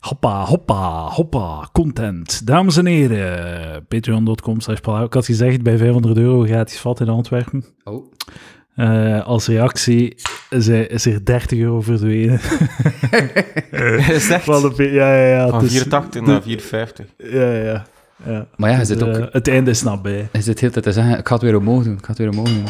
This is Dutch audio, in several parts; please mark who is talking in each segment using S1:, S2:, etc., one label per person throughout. S1: Hoppa, hoppa, hoppa, content. Dames en heren, patreon.com slash Palau. Ik had gezegd, bij 500 euro gratis vat in Antwerpen.
S2: Oh,
S1: Eh, als reactie is, er- is er 30 euro verdwenen.
S3: is echt
S1: Van de pa- ja, ja, ja.
S3: van
S1: het is-
S3: 84 naar 450.
S1: Ja, ja, ja.
S2: maar ja, je
S1: Dus,
S2: zit ook
S1: eh, het einde is nabij.
S2: je zit heel de tijd te zeggen, ik ga het weer omhoog doen, ik ga het weer omhoog doen.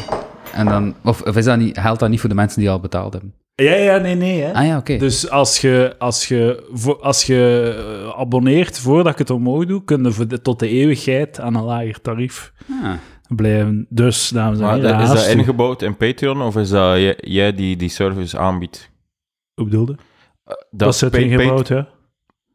S2: En dan, of, of is dat niet, geldt dat niet voor de mensen die al betaald hebben?
S1: Ja, ja, nee, nee. Hè.
S2: Ah ja, oké.
S1: Dus als je, als, je, vo- als je eh, abonneert voordat ik het omhoog doe, kunnen we de- tot de eeuwigheid aan een lager tarief
S2: Ah.
S1: blijven. Dus, dames en
S3: Maar
S1: heren,
S3: dat- is
S1: haast
S3: dat
S1: u.
S3: ingebouwd in Patreon of is dat jij, jij die die service aanbiedt?
S1: Hoe bedoelde?
S3: Dat
S1: Dat is het
S3: Pa- Pa-
S1: ingebouwd, hè?
S3: Ah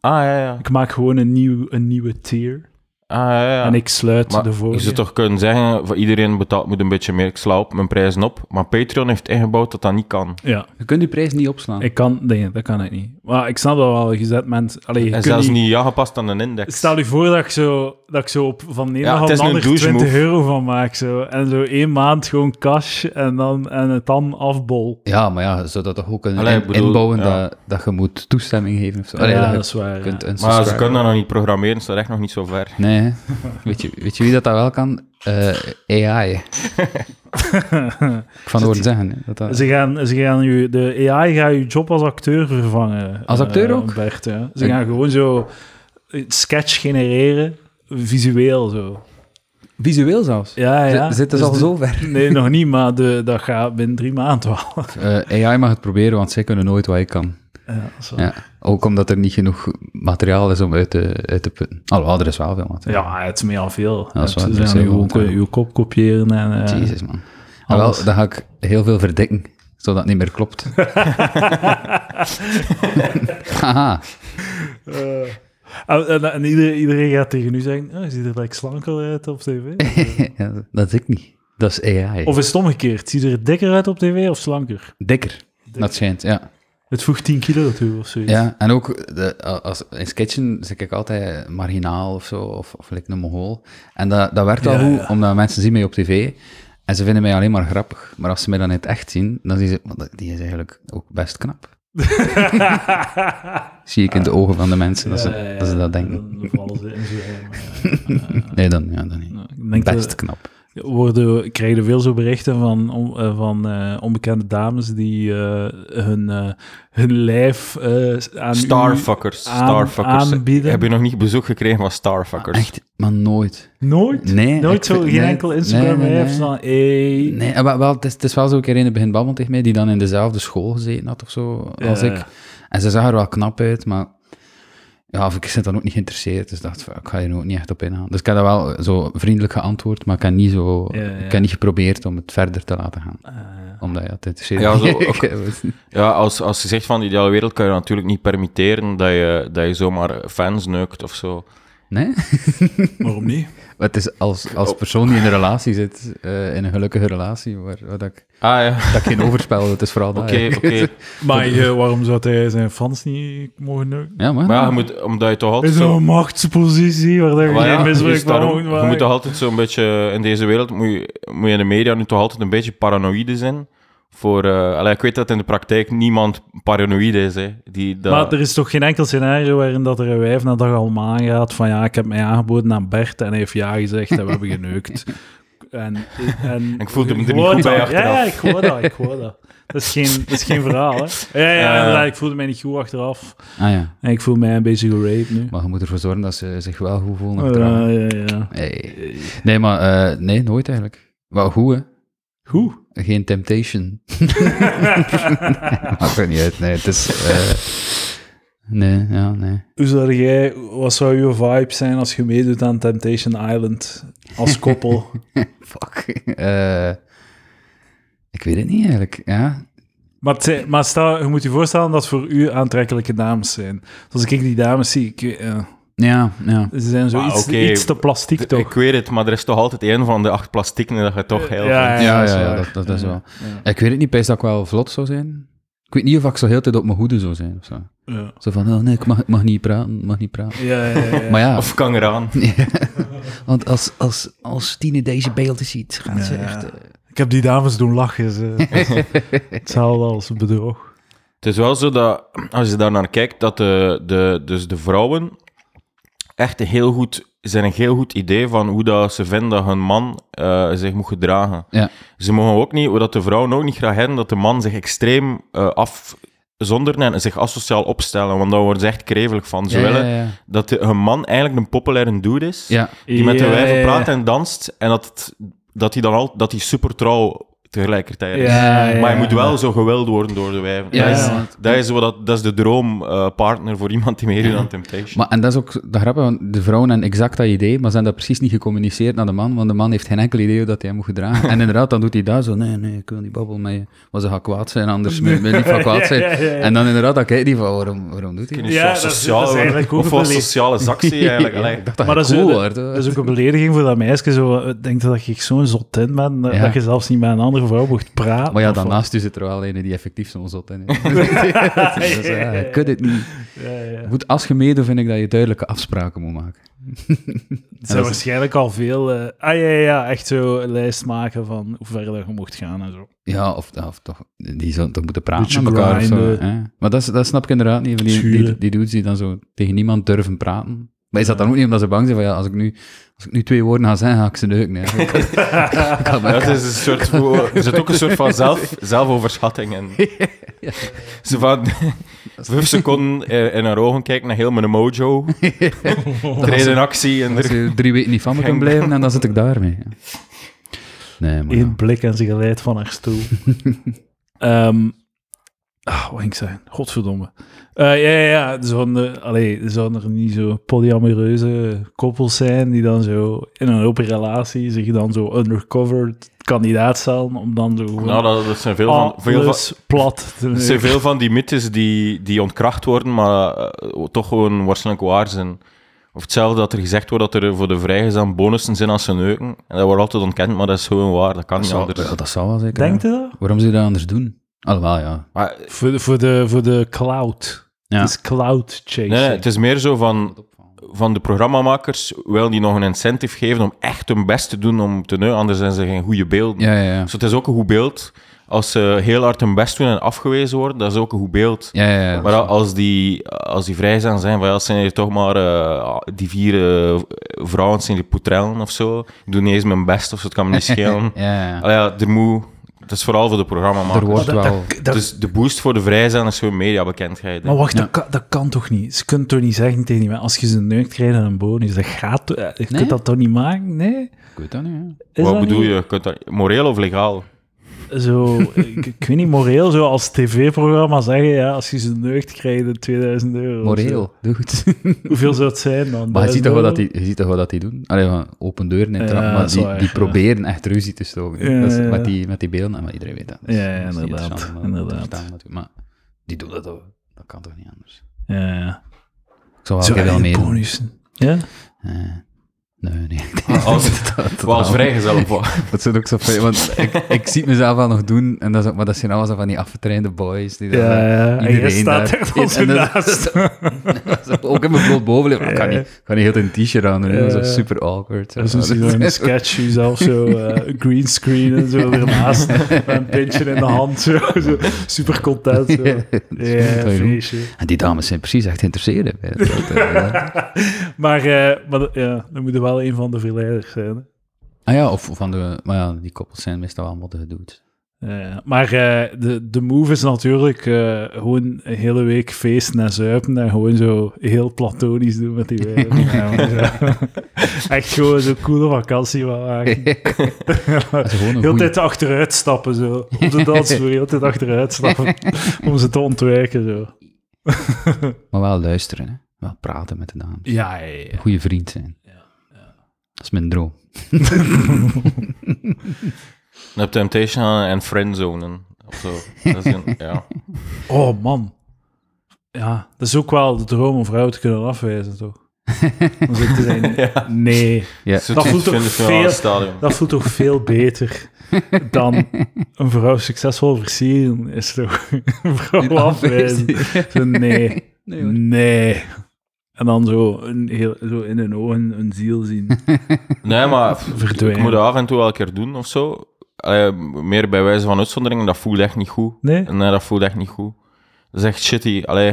S3: ja, ja.
S1: Ik maak gewoon een, nieuw, een nieuwe tier.
S3: Ah, ja, ja.
S1: En ik sluit
S3: Maar
S1: de
S3: je zou
S1: vorige.
S3: toch kunnen zeggen, voor iedereen betaalt moet een beetje meer, ik sla op mijn prijzen op. Maar Patreon heeft ingebouwd dat dat niet kan.
S1: Ja,
S2: Je kunt die prijs niet opslaan.
S1: ik kan... Nee, dat kan ik niet. Maar ik snap dat wel. Je zet mensen... Allee, je
S3: en
S1: kunt
S3: zelfs
S1: niet-
S3: niet ja gepast aan een index.
S1: Stel je voor dat ik zo, dat ik zo op, van
S3: Ja, het
S1: Nederland
S3: is
S1: ja,
S3: een
S1: ander
S3: douche
S1: 20
S3: move.
S1: euro van maak. Zo. En zo één maand gewoon cash en, dan, en het dan afbol.
S2: Ja, maar ja, zou dat toch ook kunnen
S3: Allee, ik
S2: in-
S3: bedoel,
S2: inbouwen
S3: ja.
S2: dat, dat je moet toestemming geven of zo? Allee,
S1: ja,
S2: je
S1: dat is waar. ja.
S2: kunt
S3: maar ze
S2: unsubscriben.
S3: kunnen dat nog niet programmeren, ze zijn echt nog niet zo ver.
S2: Nee, hè. weet je, weet je wie dat, dat wel kan? Eh, AI. ik van horen zeggen. hè, Dat dat...
S1: Ze gaan, ze gaan je, de AI gaat je job als acteur vervangen.
S2: Als
S1: eh,
S2: acteur ook?
S1: Bert, ja. Ze
S2: Ik-
S1: gaan gewoon zo een sketch genereren, visueel zo.
S2: Visueel zelfs.
S1: Ja, ja.
S2: Zit het
S1: Dus
S2: al
S1: de-
S2: zo ver?
S1: Nee, nog niet, maar de, dat gaat binnen drie maanden wel.
S2: Eh, AI mag het proberen, want zij kunnen nooit wat ik kan.
S1: Ja, dat is waar.
S2: Ja. Ook omdat er niet genoeg materiaal is om uit te, uit te putten. Alhoewel, er is wel veel materiaal.
S1: Ja, het is meer al veel.
S2: dat is
S1: Ze
S2: waar, dat
S1: gaan
S2: is heel
S1: gewoon
S2: goed, ja.
S1: je kop kopiëren en... eh,
S2: Jezus, man. Ah, wel,
S1: alles.
S2: dan ga ik heel veel verdikken, zodat het niet meer klopt. Haha.
S1: Eh, en en- en iedereen, iedereen gaat tegen u zeggen, oh, je ziet er like slanker uit op tv.
S2: Ja, dat is ik niet. Dat is AI.
S1: Of is het omgekeerd? Ziet er dikker uit op tv of slanker?
S2: dikker. Dat schijnt, ja.
S1: Het voegt 10 kilo toe of zoiets.
S2: Ja, en ook de, eh, als, in sketchen zit ik altijd marginaal of zo, of, of like een Mongool. En dat, dat werkt al
S1: Ja,
S2: goed,
S1: ja.
S2: omdat mensen zien mij op tv en ze vinden mij alleen maar grappig. Maar als ze mij dan in het echt zien, dan zien ze, "Want die is eigenlijk ook best knap. Zie ik in de
S1: Ah.
S2: ogen van de mensen dat, ze, dat, ze dat denken.
S1: Dan vallen ze in zwijm.
S2: Nee, dan, ja, dan niet.
S1: Nou, ik denk dat-
S2: Best knap.
S1: worden, krijgen er veel zo berichten van, om- eh, van eh, onbekende dames die eh, hun, eh, hun lijf eh, aan
S3: Starfuckers.
S1: aan-
S3: Starfuckers.
S1: aanbieden. Ah,
S3: Heb je nog niet bezoek gekregen van Starfuckers?
S2: Echt, maar nooit.
S1: u... Nooit?
S2: Nee, ik
S1: Nooit zo,
S2: vind-
S1: geen
S2: nee,
S1: enkel Instagram
S2: nee, nee,
S1: heeft
S2: nee.
S1: van, hey.
S2: Nee, eh, wel, wel, het, is, het is wel zo een keer in het begin babbel tegen mij, die dan in dezelfde school gezeten had of zo, als
S1: Ja,
S2: ik.
S1: ja.
S2: En ze zag er wel knap uit, maar... Ja, of ik zit dan ook niet geïnteresseerd, dus dacht van, ik ga hier ook niet echt op ingaan. Dus ik heb dat wel eh, zo vriendelijk geantwoord, maar ik heb niet, zo,
S1: Ja, ja.
S2: Ik heb niet geprobeerd om het verder te laten gaan.
S1: Eh,
S2: Omdat Ah. ja, het interesseert
S3: Ja,
S2: me
S3: zo
S2: niet.
S3: ook.
S2: Ik was-
S3: Ja, als, als je zegt van de ideale wereld, kan je natuurlijk niet permitteren dat je, dat je zomaar fans neukt of zo.
S2: Nee? Oh.
S1: waarom niet?
S2: Maar het is als, als persoon die in een relatie zit, eh, in een gelukkige relatie, waar, waar dat, ik,
S3: Ah ja,
S2: dat ik geen overspel, het is vooral dat.
S3: oké,
S2: ja.
S3: oké.
S1: Maar eh, waarom zou hij zijn fans niet mogen neuken?
S2: Ja, maar...
S3: Maar ja, je moet, omdat je toch
S1: Het
S3: altijd
S1: is
S3: zo...
S1: een machtspositie waar je
S3: Maar ja,
S1: geen misbruik
S3: is daarom-
S1: van
S3: je moet toch altijd zo'n beetje... In deze wereld moet je, moet je in de media nu toch altijd een beetje paranoïde zijn. Voor, eh, allee, ik weet dat in de praktijk niemand paranoïde is. Hè, die dat,
S1: Maar er is toch geen enkel scenario waarin dat er een wijf naar dag allemaal gaat van ja, ik heb mij aangeboden aan Bert en hij heeft ja gezegd en we hebben geneukt. En, en,
S3: Ik voelde me er niet
S1: hoor
S3: goed bij
S1: dat. Ja, ja,
S3: achteraf.
S1: ik hoor dat, ik hoor dat. Dat is geen, dat is geen verhaal, hè. Ja, ja, ja,
S3: Ja.
S1: inderdaad, ik voelde mij niet goed achteraf.
S2: Ah ja,
S1: En ik voel mij een beetje geraped nu.
S2: maar je moet ervoor zorgen dat ze zich wel goed voelen.
S1: Ja,
S2: achteraf.
S1: ja, ja.
S2: Hey. Nee, maar eh, nee, nooit eigenlijk. Wel goed, hè?
S1: Goed.
S2: Geen Temptation. Maakt er niet uit, nee. Het is... eh, nee, ja, nee.
S1: Hoe zou jij, wat zou je vibe zijn als je meedoet aan Temptation Island als koppel?
S2: Fuck. Eh, ik weet het niet eigenlijk, ja.
S1: Maar, het zijn- maar stel, je moet je voorstellen dat het voor u aantrekkelijke dames zijn. Zoals ik die dames zie, ik, weet- eh,
S2: Ja, ja.
S1: ze zijn zo
S3: Maar
S1: iets,
S3: oké,
S1: iets te plastiek
S3: D-
S1: toch? Eh,
S3: Ik weet het, maar er is toch altijd één van de acht plastieken dat je toch heel
S1: Ja,
S3: vindt.
S2: Ja,
S1: dat is
S2: ja, ja,
S1: waar.
S2: dat, dat is
S1: Ja,
S2: wel. Ik weet het niet, best dat ik wel vlot zou zijn. Ik weet niet of ik zo heel de tijd op mijn hoede zou zijn of zo.
S1: ja.
S2: Zo van, oh nee, ik mag, ik mag niet praten, ik mag niet praten.
S1: Ja, ja, ja, ja.
S2: Maar ja,
S3: Of kan eraan.
S2: want als, als, als Tine deze beelden ziet, gaat ze
S1: Ja.
S2: echt... eh,
S1: Ik heb die dames doen lachen. Ze. Het is Hetzelfde als bedrog.
S3: Het is wel zo dat, als je daar naar kijkt, dat de, de, dus de vrouwen echt een heel goed, zijn een heel goed idee van hoe dat ze vinden dat hun man eh, zich moet gedragen.
S2: Ja.
S3: Ze mogen ook niet, wat de vrouwen ook niet graag hebben, dat de man zich extreem eh afzonderen en zich asociaal opstellen, want daar worden ze echt krevelig van. Ze
S2: Ja,
S3: willen
S2: ja, ja.
S3: dat de, een man eigenlijk een populaire dude is,
S2: Ja.
S3: die met de
S1: Ja, ja,
S3: wijven
S1: ja.
S3: praat en danst, en dat, het- dat hij dan al, dat hij super trouw tegelijkertijd is.
S1: Ja, ja,
S3: Maar je
S1: ja.
S3: moet wel zo gewild worden door de wijven.
S2: Ja,
S3: dat, is,
S1: ja.
S3: dat, is wat, dat- dat is de droompartner voor iemand die meedoet aan Temptation.
S2: Maar, en dat is ook de grap, want de vrouwen hebben exact dat idee, maar ze hebben dat precies niet gecommuniceerd naar de man, want de man heeft geen enkel idee hoe dat hij moet gedragen. En inderdaad, dan doet hij dat zo, nee, nee, ik wil niet babbelen met je, want ze gaat kwaad zijn, anders wil wil niet van kwaad zijn.
S1: Ja, ja, ja.
S2: En dan inderdaad, dan kijkt hij van, waarom, waarom doet hij dat?
S1: Ja,
S3: Zo'n
S1: dat is- dat is eigenlijk ook
S3: of voor
S1: een beleef-
S3: sociale zak zie je eigenlijk.
S2: Ja,
S3: Allee,
S2: ik dacht dat
S1: Maar dat
S2: je
S1: is,
S2: cool
S1: dat-
S2: wordt. hè.
S1: dat is ook een belediging voor dat meisje. Zo, eh, denk dat ik zo'n zotin ben, eh,
S2: Ja.
S1: dat je zelfs niet met een andere vrouw mocht praten.
S2: Maar ja,
S1: of wat.
S2: daarnaast is het er wel een die effectief zo'n zot in is. Dus, ja, je kunt het niet.
S1: Ja, ja. Er
S2: Goed, als je meedoet, vind ik dat je duidelijke afspraken moet maken.
S1: zijn waarschijnlijk al veel... eh, ah ja, ja, ja, echt zo een lijst maken van hoe ver dat je mocht gaan en zo.
S2: Ja, of, of toch, die zullen toch moeten praten
S1: Beetje
S2: met elkaar of zo.
S1: grinden.
S2: Hè? Maar dat, is- dat snap ik inderdaad niet. van Die, die,
S1: Schuren.
S2: die dudes die dan zo tegen niemand durven praten. Maar is dat dan ook niet omdat ze bang zijn van ja, als ik nu, als ik nu twee woorden ga zeggen, ga ik ze neuken. hè. Ik had- ik had-
S3: dat is een soort, er zit ook een soort van zelf, zelfoverschatting in. Ze van vijf seconden eh, in haar ogen kijken naar heel mijn mojo.
S1: Oh.
S3: Treden in actie en
S2: Als
S3: er-
S2: je drie weken niet van me kan blijven, en dan zit ik daarmee. hè. Nee, maar ja.
S1: Eén blik en ze geleid van haar stoel. Ehm ah, wat ging ik zeggen? Godverdomme. Eh, ja, ja, ja. Zouden er, allee, zouden er niet zo polyamoreuze koppels zijn die dan zo in een open relatie zich dan zo undercover kandidaat stellen om dan zo gewoon
S3: Nou, dat, dat zijn veel van, veel van,
S1: alles plat te
S3: er zijn veel van die mythes die, die ontkracht worden, maar eh, toch gewoon waarschijnlijk waar zijn. Of hetzelfde dat er gezegd wordt dat er voor de vrijgezellen bonussen zijn als ze neuken. En dat wordt altijd ontkend, maar dat is gewoon waar. Dat
S2: dat,
S3: kan niet
S2: zal,
S3: anders.
S2: dat, dat zal wel zeker.
S1: Denkt
S2: hè.
S1: u dat?
S2: Waarom zou je dat anders doen? Alhoewel, ja.
S3: Maar,
S1: Voor de, voor de, voor de cloud.
S2: Ja.
S1: Het is cloud chasing.
S3: nee, nee, het is meer zo van, van de programmamakers wil die nog een incentive geven om echt hun best te doen om te neuken, anders zijn ze geen goede beelden.
S2: Ja, ja, ja.
S3: Dus het is ook een goed beeld. Als ze heel hard hun best doen en afgewezen worden, dat is ook een goed beeld.
S2: Ja, ja, ja.
S3: Maar als die, als die vrij zijn, zijn van ja, het zijn hier toch maar eh, die vier eh, vrouwen, het zijn die poetrellen of zo. Ik doe niet eens mijn best of zo, het kan me niet schelen.
S2: ja, ja.
S3: Allee, ja, er moet, dat is vooral voor de programma
S2: Er
S3: maken.
S2: wordt
S1: Maar dat-
S2: wel...
S1: dat- dat-
S3: Dus de boost voor de vrij zijn is gewoon mediabekendheid. hè.
S1: Maar wacht,
S2: Ja.
S1: dat, kan, dat kan toch niet? Ze kunnen toch niet zeggen tegen die mensen, als je ze neukt krijgt en een bonus, dat gaat toch... eh, Je
S2: Nee?
S1: kunt dat toch niet maken? Nee?
S2: Ik weet dat niet, hè.
S1: Is
S3: Wat
S1: dat
S3: bedoel
S1: niet
S3: je? Je kunt dat- Moreel of legaal?
S1: Zo, ik, ik weet niet, moreel, zo als tv-programma zeggen, ja, als je ze neukt krijgt, dan 2000 euro. of zo.
S2: Moreel, doe goed.
S1: Hoeveel zou het zijn dan?
S2: Maar
S1: 1000
S2: je ziet toch wel dat
S1: euro?
S2: die, je ziet toch wel dat die doen? Allee, van open deuren en
S1: Ja,
S2: trappen, maar
S1: dat is
S2: die,
S1: waar,
S2: die
S1: ja.
S2: proberen echt ruzie te stoken.
S1: Ja,
S2: dat is
S1: ja, ja.
S2: met, die, met die beelden, maar iedereen weet dat. Dus
S1: Ja, ja,
S2: dat is niet
S1: inderdaad,
S2: interessant om
S1: inderdaad.
S2: te vertellen natuurlijk. Maar die doen dat toch? Dat kan toch niet anders?
S1: Ja, ja.
S2: Ik zou wel
S1: Zo,
S2: een keer wel
S1: en
S2: meedoen.
S1: bonussen. Ja?
S2: Eh, nee, nee.
S3: Ah, Als,
S2: Dat- dat-
S3: wel als
S2: dat-
S3: vrijgezel of wat?
S2: Dat zou ook zo fijn, want ik, ik zie het mezelf wel nog doen, en dat is, ook- maar dat zijn allemaal zo van die afgetrainde boys. Die dan,
S1: Ja,
S2: eh,
S1: ja. En je
S2: iedereen
S1: staat
S2: daar-
S1: er dan zo
S2: en dat-
S1: naast.
S2: Dat is ook in mijn bloot bovenleven. Ik kan niet, ik kan niet heel een t-shirt aan doen. hè. Dat is
S1: Ja.
S2: ook super awkward.
S1: Dat is misschien wel een sketch, jezelf zo eh, green screen en zo ernaast. Met een pintje in de hand, zo, zo super content. Zo.
S2: Ja,
S1: Ja,
S2: dat is goed, dat je
S1: feestje.
S2: En die dames zijn precies echt geïnteresseerd. hè, bij het- dat, eh,
S1: Maar, eh, maar dat- ja, dan moet er wel een van de verleiders zijn. hè.
S2: ah ja, of van de... Maar ja, die koppels zijn meestal wel moddige dudes.
S1: Eh, maar eh, de, de move is natuurlijk eh, gewoon een hele week feesten en zuipen en gewoon zo heel platonisch doen met die wijven. Ja, maar zo. Echt gewoon zo'n coole vakantie wel maken.
S2: Dat is gewoon
S1: Heel
S2: een goeie-
S1: tijd achteruit stappen zo. Op de dansvloer, heel tijd achteruit stappen. om ze te ontwijken zo.
S2: Maar wel luisteren, hè. Wel praten met de dames.
S1: Ja, ja, ja.
S2: Goeie vriend zijn. Dat is mijn droom.
S3: Een Temptation en friendzonen. Of zo. Dat is een, ja.
S1: Oh man. Ja, dat is ook wel de droom om vrouwen te kunnen afwijzen, toch? Om zo te zijn. Nee,
S2: Ja.
S3: Zo
S1: Dat
S3: te
S1: voelt toch
S3: vinden van,
S1: veel-
S3: ah, stadion.
S1: dat voelt toch veel beter dan een vrouw succesvol versieren, is toch? Een vrouw afwijzen. Zo, nee,
S2: Nee, hoor.
S1: nee. En dan zo, een heel, zo in hun ogen een ziel zien
S3: Nee, maar ik moet
S1: verdwijnen.
S3: dat af en toe wel een keer doen of zo. Allee, meer bij wijze van uitzondering, eh, dat voelt echt niet goed.
S1: Nee?
S3: Nee, dat voelt echt niet goed. Dat is echt shitty. Allee,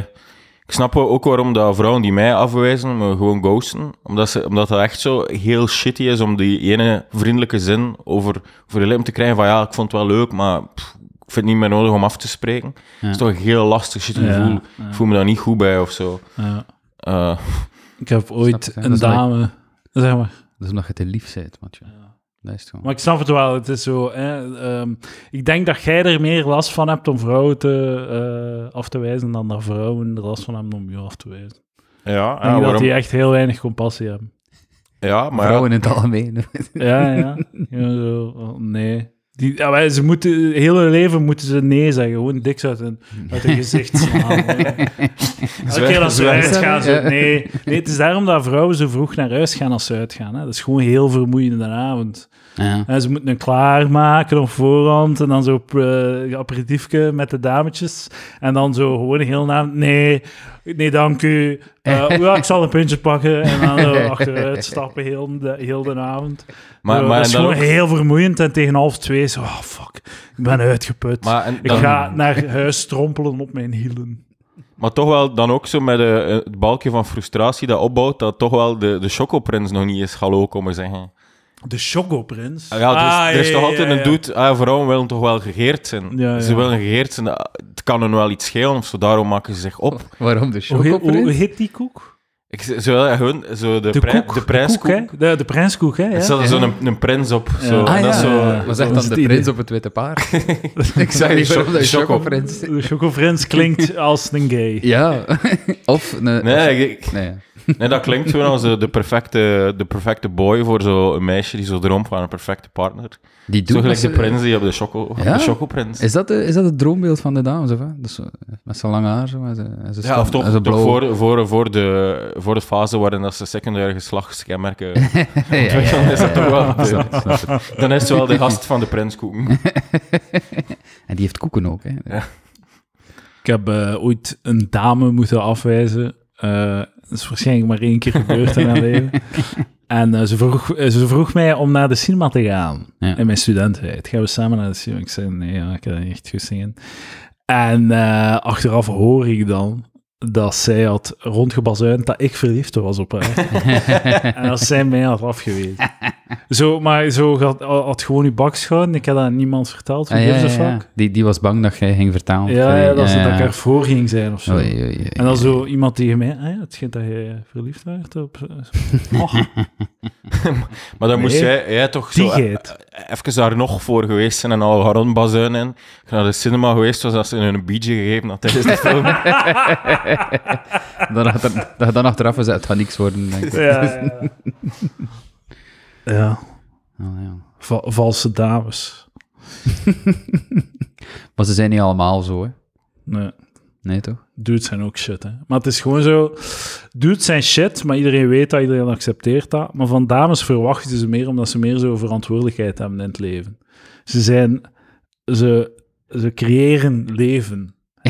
S3: ik snap wel ook waarom dat vrouwen die mij afwijzen, me gewoon ghosten. Omdat, ze, omdat dat echt zo heel shitty is om die ene vriendelijke zin over, over je lippen te krijgen van ja, ik vond het wel leuk, maar pff, ik vind het niet meer nodig om af te spreken. Dat is toch een heel lastig shitty
S1: Ja,
S3: gevoel.
S1: ja.
S3: Ik voel me daar niet goed bij of zo.
S1: Ja.
S3: Eh,
S1: Ik heb ooit
S2: ik, hè.
S1: een
S2: Dat is
S1: dame... Zeg maar.
S2: Dat is omdat je te lief bent, Mathieu. Dat is het gewoon.
S1: Maar ik snap het wel, het is zo. Hè, ehm, ik denk dat jij er meer last van hebt om vrouwen te, eh, af te wijzen dan dat vrouwen er last van hebben om je af te wijzen. Ik
S3: ja,
S1: denk
S3: ja,
S1: dat
S3: Ah, waarom?
S1: die echt heel weinig compassie hebben.
S3: ja, maar ja,
S2: Vrouwen in het algemeen.
S1: Ja, ja. ja zo, oh, nee. Die, ja, wij- ze moeten, heel hun leven moeten ze nee zeggen. Gewoon diks uit hun, uit hun gezicht slaan. Elke keer dat ze
S3: zwijg-
S1: uitgaan, zo,
S2: Ja.
S1: nee. nee. Het is daarom dat vrouwen zo vroeg naar huis gaan als ze uitgaan. Hè. Dat is gewoon heel vermoeiend in de avond.
S2: Ja.
S1: En ze moeten een klaarmaken op voorhand. En dan zo eh aperitiefje met de dametjes. En dan zo gewoon heel naam. Nee, nee, dank u. Eh, ja, ik zal een puntje pakken. En dan zo achteruit stappen heel de, heel de avond.
S3: maar,
S1: Zo,
S3: maar,
S1: dat is
S3: en dan
S1: gewoon
S3: ook-
S1: heel vermoeiend. En tegen half twee zo, oh, fuck, ik ben uitgeput.
S3: maar, en
S1: ik
S3: dan-
S1: ga naar huis strompelen op mijn hielen.
S3: maar toch wel dan ook zo met eh, het balkje van frustratie dat opbouwt, dat toch wel de, de chocoprins nog niet is hallo komen zeggen.
S1: De Choco Prins.
S3: Ah, Ja, er is, er is toch altijd een
S1: doet.
S3: doet. Ah, vrouwen willen toch wel gegeerd zijn.
S1: Ja, ja.
S3: Ze willen gegeerd zijn. ah, Het kan hen wel iets schelen of zo. Daarom maken ze zich op.
S2: Waarom de
S1: Hoe, heet- hoe
S2: chocoprins?
S1: heet die koek?
S3: Ik, ze ze willen hun, zo de,
S1: De,
S3: prij-
S1: koek.
S3: de prijskoek.
S1: koek, hè? De, de prijskoek, hè?
S3: Er
S1: Ja.
S3: staat er
S2: Ja.
S3: zo'n een, prins op. Zo.
S1: Ja.
S3: En
S2: Ah,
S3: dat is
S2: ja.
S3: zo,
S1: ja. Dat
S2: Wat zegt dan
S1: is
S2: de
S1: het
S2: prins
S1: idee.
S2: op het witte paard? Ik
S3: zeg
S2: zeg niet
S3: cho-
S2: waarom dat je
S3: choco.
S2: chocoprins...
S1: De Chocofrins klinkt als een gay.
S2: Ja. Of... een-
S3: Nee, ik-
S2: of- Nee.
S3: nee, dat klinkt zo als de, de perfecte, de perfecte boy voor zo'n meisje die zo droomt van een perfecte partner.
S2: Die doet
S3: Zo gelijk
S2: met
S3: de
S2: z'n-
S3: prins die op de, choco,
S2: Ja?
S3: de chocoprins.
S2: Is dat, de, is dat het droombeeld van de dames? Of, hè? Dus, zo, met zijn lange haar zo, en zijn, en zijn
S3: Ja, of
S2: stom- en
S3: toch,
S2: zijn
S3: toch
S2: blauw.
S3: voor, voor, voor, de, voor de fase waarin dat ze secundaire geslachtskenmerken
S2: Ja, ja, ja,
S3: ontwikkelen, is dat toch wel...
S2: ja, snap het, snap het.
S3: Dan is het wel de gast van de prinskoeken.
S2: En die heeft koeken ook, hè?
S3: Ja.
S1: Ik heb eh, ooit een dame moeten afwijzen. Eh, dat is waarschijnlijk maar één keer gebeurd in haar leven. En eh, ze, vroeg, eh, ze vroeg mij om naar de cinema te gaan.
S2: Ja.
S1: In mijn studententijd. Gaan we samen naar de cinema? Ik zei, nee, ja, ik heb er niet echt goed zingen. En eh, achteraf hoor ik dan dat zij had rondgebazuind dat ik verliefd was op haar. en dat zij mij had afgewezen. Zo, maar zo had, had gewoon uw bak schouden. Ik had dat aan niemand verteld. Who
S2: Ah, ja,
S1: gives a
S2: ja, ja.
S1: fuck?
S2: Die, die was bang dat jij ging vertalen.
S1: Ja, ja, dat, ze dat ik
S2: ja.
S1: ervoor ging zijn of zo.
S2: Oei, oei, oei.
S1: En dan zo iemand tegen mij, ah ja, het schijnt dat je verliefd werd op... eh, Och,
S3: Maar dan moest
S1: Nee.
S3: jij, jij toch
S1: die
S3: zo e-
S1: geit.
S3: even daar nog voor geweest zijn en al haar bazuin in. Naar de cinema geweest was, dat ze een biertje gegeven had tijdens de film.
S2: Dan achter- dat je dan achteraf was, het gaat niks worden. Denk ik.
S1: Ja, ja, ja. Ja,
S2: Oh, ja.
S1: va- valse dames.
S2: Maar ze zijn niet allemaal zo, hè?
S1: Nee,
S2: Nee, toch?
S1: dudes zijn ook shit, hè. Maar het is gewoon zo... Dudes zijn shit, maar iedereen weet dat, iedereen accepteert dat. Maar van dames verwachten ze meer, omdat ze meer zo verantwoordelijkheid hebben in het leven. Ze zijn... Ze, ze creëren leven.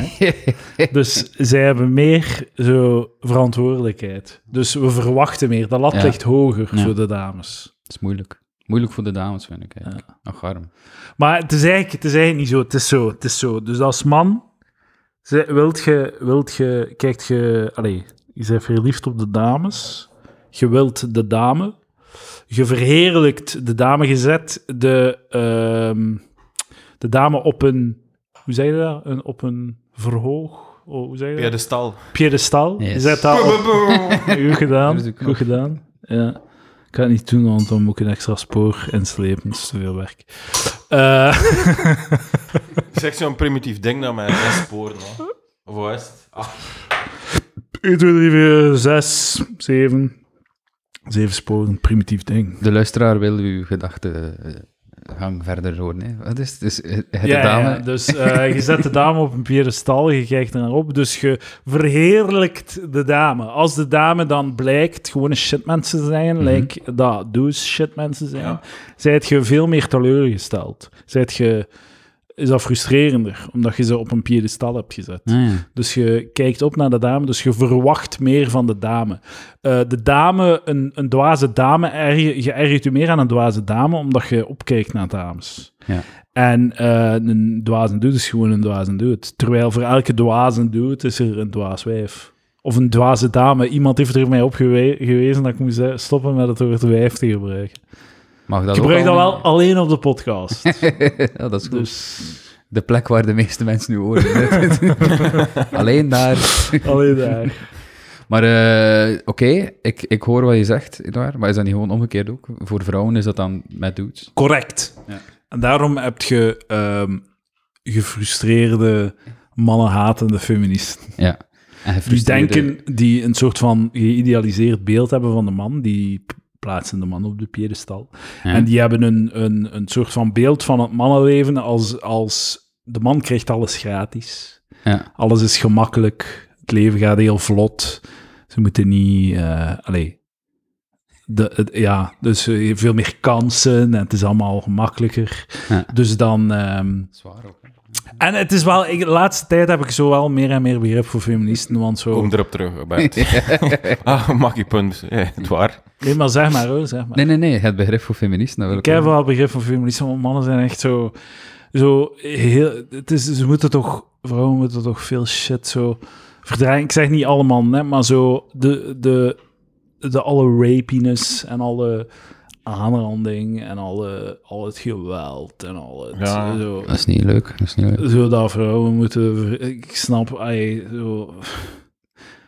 S1: Dus zij hebben meer zo verantwoordelijkheid. Dus we verwachten meer. De lat
S2: Ja.
S1: ligt hoger
S2: Ja.
S1: voor de dames.
S2: Het is moeilijk. Moeilijk voor de dames, vind ik. eigenlijk. Ach, arm.
S1: Maar het is eigenlijk, het is eigenlijk niet zo. Het is zo. Het is zo. Dus als man, ze- wilt je, wilt je, kijkt je, allez, je bent verliefd op de dames. Je wilt de dame. Je verheerlijkt de dame. Je zet de, ehm, de dame op een, hoe zeg je dat? Een, op een verhoog. Oh, hoe zeg je dat?
S3: Bij de stal.
S1: Piedestal. Je
S2: Yes.
S1: zet dat op. Goed
S2: Dat is
S1: gedaan.
S2: ook
S1: Goed
S2: nog.
S1: gedaan. Ja. Ik ga het niet doen, want dan moet ik een extra spoor inslepen. Dat is te veel werk. Eh,
S3: Dat is echt zo'n primitief ding dat mij een spoor. No. Of wat is het? Ah,
S1: 1, 2, 3, 4, 6, 7. Zeven sporen, primitief ding.
S2: De luisteraar wil uw gedachtegang verder horen. Hè. Wat is het? Dus, eh, het de dame?
S1: dus eh, je zet de dame op een piedestal, je kijkt ernaar op. Dus je verheerlijkt de dame. Als de dame dan blijkt gewoon een shitmens te zijn, like dat douche shitmens te zijn,
S3: Ja.
S1: zijt je veel meer teleurgesteld. Zijt je... is dat frustrerender, omdat je ze op een piedestal hebt gezet.
S2: Ah, ja.
S1: Dus je kijkt op naar de dame, dus je verwacht meer van de dame. Eh, de dame, een, een dwaze dame, erg, je ergert je meer aan een dwaze dame, omdat je opkijkt naar dames.
S2: Ja.
S1: En eh, een dwaze dude is gewoon een dwaze dude. Terwijl voor elke dwaze dude is er een dwaas wijf. Of een dwaze dame. Iemand heeft er mij op gewe- gewezen dat ik moest eh, stoppen met het woord wijf te gebruiken.
S2: Mag dat
S1: Ik gebruik
S2: ook
S1: dat wel
S2: allemaal?
S1: alleen op de podcast.
S2: ja, dat is goed.
S1: dus
S2: De plek waar de meeste mensen nu horen. Alleen daar.
S1: alleen daar.
S2: Maar eh, oké, ik, ik hoor wat je zegt, Edouard, maar is dat niet gewoon omgekeerd ook? Voor vrouwen is dat dan met dudes?
S1: Correct.
S2: Ja.
S1: En daarom heb je ehm, gefrustreerde, mannenhatende feministen.
S2: Ja. En
S1: Die
S2: gefrustreerde-
S1: Dus denken, die een soort van geïdealiseerd beeld hebben van de man, die p- plaatsen de man op de piedestal.
S2: Ja.
S1: En die hebben een, een, een soort van beeld van het mannenleven als, als de man krijgt alles gratis.
S2: Ja.
S1: Alles is gemakkelijk, het leven gaat heel vlot. Ze moeten niet... eh allee, de, het- ja, dus eh, je hebt veel meer kansen en het is allemaal gemakkelijker.
S2: Ja.
S1: Dus dan... ehm,
S2: Zwaar ook. hè.
S1: en het is wel... ik- de laatste tijd heb ik zo wel meer en meer begrip voor feministen, want zo...
S3: Kom erop terug, Bert. ah, mag je punt. Ja, het waar.
S1: Nee, maar zeg maar, hoor, zeg maar.
S2: Nee, nee, nee, het begrip voor feministen. dat wil
S1: ik heb
S2: wel.
S1: wel begrip van feministen, want mannen zijn echt zo... zo heel, het is, ze moeten toch... Vrouwen moeten toch veel shit zo verdraaien. Ik zeg niet allemaal, hè, maar zo de, de, de alle rapiness en alle aanranding en alle, al het geweld en al het...
S3: Ja.
S1: Zo,
S2: Dat is niet leuk. Dat is niet leuk.
S1: zo dat vrouwen moeten... ver- Ik snap, ai, zo...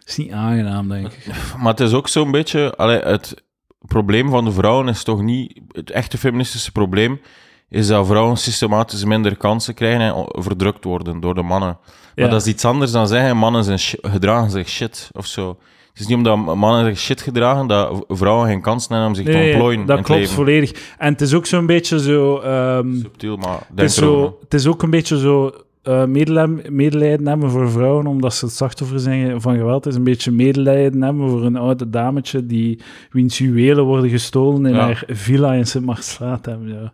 S1: is niet aangenaam, denk ik.
S3: Maar het is ook zo'n beetje... allee, het probleem van de vrouwen is toch niet... Het echte feministische probleem is dat vrouwen systematisch minder kansen krijgen en o- verdrukt worden door de mannen. Maar
S1: Ja.
S3: dat is iets anders dan zeggen, mannen zijn shi- gedragen zich shit of zo. Het is niet omdat mannen zich shit gedragen dat v- vrouwen geen kans hebben om zich te
S1: Nee,
S3: ontplooien. in
S1: dat
S3: het
S1: klopt
S3: leven.
S1: volledig. En het is ook zo'n beetje zo... ehm,
S3: Subtiel, maar denk
S1: Het is,
S3: erover
S1: zo, het is ook een beetje zo eh, medele- medelijden hebben voor vrouwen, omdat ze het slachtoffer zijn van geweld. Het is een beetje medelijden hebben voor een oude dametje die wiens juwelen worden gestolen in
S3: Ja.
S1: haar villa in Sint-Marstraat hebben. Ja.